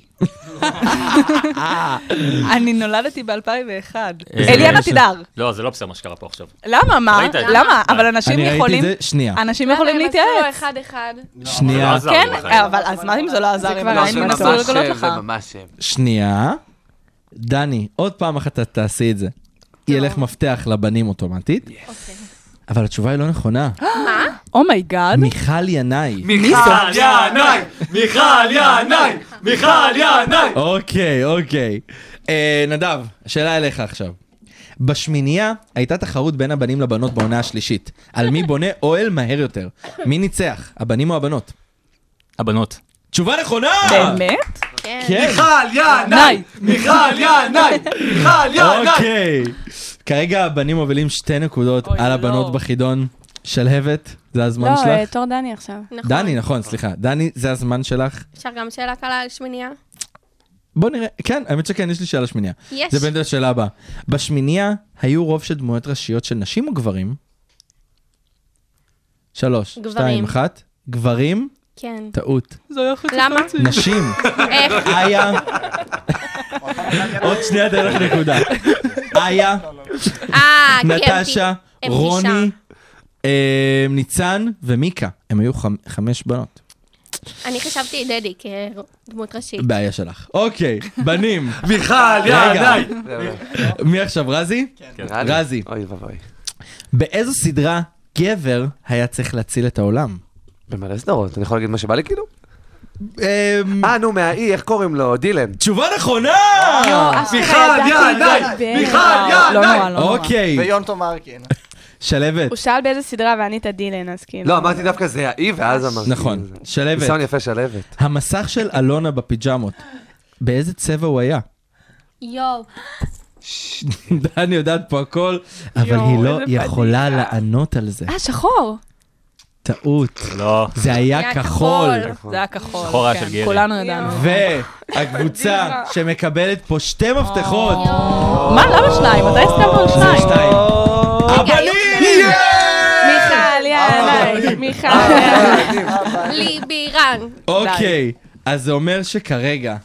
S5: אני נולדתי ב-2001.
S7: אה,
S5: אליאנה
S7: ש-
S5: תידר.
S7: לא, זה לא בסדר מה שקרה פה עכשיו.
S5: למה? מה?
S7: ראית את זה?
S5: למה? אבל אנשים
S4: אני ראיתי את
S5: יכולים...
S4: זה, שנייה,
S5: אנשים יכולים
S11: אה,
S10: למה הם
S11: לא
S10: עשו לו
S5: להתייעץ.
S10: אחד-אחד?
S4: שנייה,
S7: עזר לי בחיים.
S5: כן, אבל אז מה אם זה לא עזר? הם
S10: כבר
S5: עדיין
S10: היה.
S5: ינסו
S8: ממש,
S5: לגלות לך.
S8: זה ממש...
S4: שנייה. דני, עוד פעם אחת את תעשי את זה. ילך מפתח לבנים אוטומטית, אבל התשובה היא לא נכונה.
S5: אומייגאד.
S4: מיכל ינאי.
S7: מיכל ינאי! מיכל ינאי! מיכל ינאי!
S4: אוקיי, אוקיי. אה, נדב, שאלה אליך עכשיו. בשמינייה הייתה תחרות בין הבנים לבנות בעונה השלישית. על מי בונה אוהל מהר יותר. מי ניצח, הבנים או הבנות?
S7: הבנות.
S4: תשובה נכונה!
S5: באמת?
S11: כן.
S4: כן,
S5: ניי.
S7: מיכל ינאי! מיכל
S4: אוקיי. כרגע הבנים מובילים שתי נקודות
S5: אוי,
S4: על
S5: לא.
S4: הבנות בחידון. שלהבת, זה
S10: לא,
S4: הזמן
S10: אה,
S4: שלך.
S10: תור דני עכשיו.
S11: נכון.
S4: דני, נכון, סליחה. דני, זה הזמן שלך.
S11: אפשר גם שאלה קלה על שמינייה?
S4: בוא נראה, כן, האמת שכן, יש לי שאלה שמינייה.
S11: יש.
S4: זה באמת השאלה הבאה. בשמינייה היו רוב של דמויות ראשיות של נשים או גברים? שלוש,
S11: גברים.
S4: שתיים, אחת. גברים,
S11: כן. אה,
S4: טעות.
S5: זה היה חצי
S11: למה?
S5: חצי.
S4: נשים,
S11: איך?
S4: איה. עוד שנייה אתן לך נקודה. איה,
S11: אה, כי הם
S4: נטשה,
S11: הם
S4: רוני, אה, ניצן ומיקה. הם היו חמ- חמש בנות.
S11: פי- אני חשבתי את דדי כדמות
S9: כן.
S11: ראשית.
S4: בעיה שלך. אוקיי, בנים.
S8: מיכל
S4: ינאי.
S8: ינאי!
S4: מי עכשיו, רזי?
S8: כן.
S4: רזי.
S8: אוי ואבוי.
S4: באיזו סדרה גבר היה צריך להציל את העולם?
S8: במלא סדרות, אני יכול להגיד מה שבא לי כאילו?
S4: אמ,
S8: אה, נו, מהאי, איך קוראים לו? דילן.
S4: תשובה נכונה! אה.
S10: מיכל, ינאי!
S5: לא נורא, לא נורא.
S4: אוקיי,
S6: ויונטו מרקין.
S4: שלבת.
S10: הוא שאל באיזה סדרה וענית דילן, אז כאילו...
S8: לא, אמרתי דווקא זה האי, ואז אמרתי...
S4: נכון,
S8: זה. ניסיון
S4: שלבת.
S8: יפה שלהבת.
S4: המסך של אלונה בפיג'מות, באיזה צבע הוא היה?
S11: יואו.
S4: דני יודעת פה הכל, אבל
S10: יואו,
S4: היא לא
S10: איזה
S4: יכולה לענות על זה.
S10: אה, שחור.
S4: טעות.
S7: לא.
S4: זה היה
S11: היה
S4: כחול.
S11: כחול.
S5: זה היה כחול.
S7: שחור היה
S5: כן,
S7: של גרי.
S5: כולנו ידענו.
S4: והקבוצה שמקבלת פה שתי מפתחות,
S5: מה, למה שניים? מתי הסכמנו על
S4: זה
S5: שניים?
S4: שתיים.
S11: רגע, היו שתיים.
S10: מיכל, יאללה, מיכל.
S11: ליבירן.
S4: אוקיי, אז זה אומר שכרגע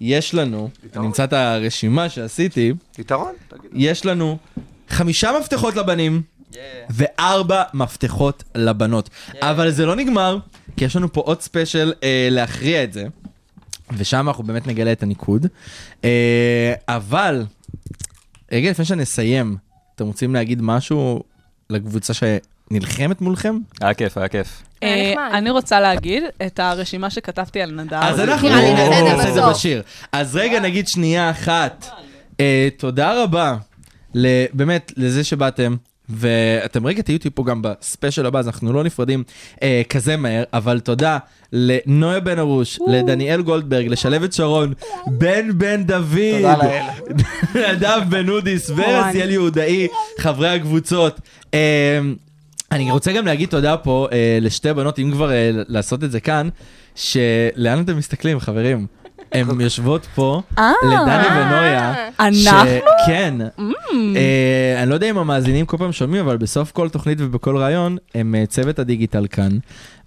S4: יש לנו, אני אמצא את הרשימה שעשיתי,
S8: יתרון? תגיד.
S4: יש לנו חמישה מפתחות לבנים וארבע מפתחות לבנות. אבל זה לא נגמר, כי יש לנו פה עוד ספיישל אה, להכריע את זה, ושם אנחנו באמת נגלה את הניקוד. אה, אבל, רגע לפני שנסיים, אתם רוצים להגיד משהו לקבוצה נלחמת מולכם?
S7: היה כיף, היה כיף.
S5: אה, אני רוצה להגיד את הרשימה שכתבתי על נדב.
S4: אז אנחנו נעשה את זה בשיר. אז רגע, נגיד שנייה אחת. אה, תודה רבה, ל- באמת, לזה שבאתם. ואתם רגע תהיו איתי פה גם בספיישל הבא, אז אנחנו לא נפרדים אה, כזה מהר, אבל תודה לנויה בן ארוש, לדניאל גולדברג, לשלבת שרון, בן בן דוד,
S6: תודה לאל.
S4: נדב בן אודיס ורזיאל יהודאי, חברי הקבוצות. אה, אני רוצה גם להגיד תודה פה אה, לשתי בנות, אם כבר אה, לעשות את זה כאן, שלאן אתם מסתכלים, חברים? הן יושבות פה,
S5: אה.
S4: לדני ונויה.
S5: אה.
S4: ש-
S5: אנחנו? Mm.
S4: כן. אה, אני לא יודע אם המאזינים כל פעם שומעים, אבל בסוף כל תוכנית ובכל ראיון, הם אה, צוות הדיגיטל כאן.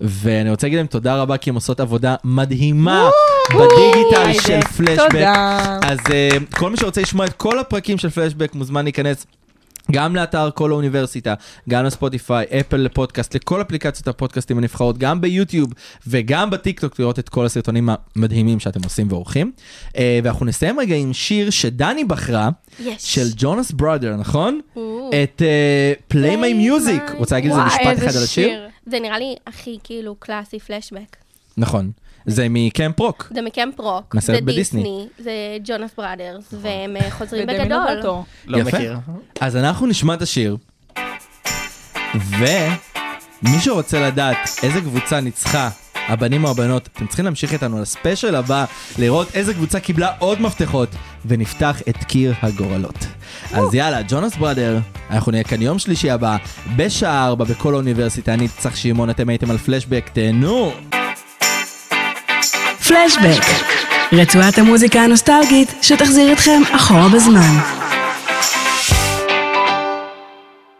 S4: ואני רוצה להגיד להם תודה רבה, כי הם עושות עבודה מדהימה בדיגיטל
S5: וואי,
S4: של
S5: זה-
S4: פלשבק.
S5: תודה.
S4: אז אה, כל מי שרוצה לשמוע את כל הפרקים של פלשבק מוזמן להיכנס. גם לאתר כל האוניברסיטה, גם לספוטיפיי, אפל לפודקאסט, לכל אפליקציות הפודקאסטים הנבחרות, גם ביוטיוב וגם בטיקטוק, לראות את כל הסרטונים המדהימים שאתם עושים ועורכים. אה, ואנחנו נסיים רגע עם שיר שדני בחרה,
S11: Yes.
S4: של ג'ונס בראדר, נכון?
S11: או.
S4: את אה, פליי מיי מיוזיק, רוצה להגיד איזה משפט אחד על השיר?
S11: זה נראה לי הכי כאילו קלאסי פלשבק.
S4: נכון, זה מקמפ רוק.
S11: זה מקמפ רוק,
S4: מהסרט
S11: זה
S4: בדיסני.
S11: דיסני, זה ג'ונס בראדרס, והם אה, חוזרים
S5: ודמינו
S11: בגדול.
S5: בלטו.
S4: יפה. אז אנחנו נשמע את השיר, ומי שרוצה לדעת איזה קבוצה ניצחה, הבנים או הבנות, אתם צריכים להמשיך איתנו לספיישל הבא, לראות איזה קבוצה קיבלה עוד מפתחות, ונפתח את קיר הגורלות. אז יאללה, ג'ונס בראדר, אנחנו נהיה כאן יום שלישי הבא, בשעה 4 בכל האוניברסיטה, אני צח שמעון, אתם הייתם על פלשבק, תהנו!
S3: פלשבק, רצועת המוזיקה הנוסטלגית שתחזיר אתכם אחורה בזמן.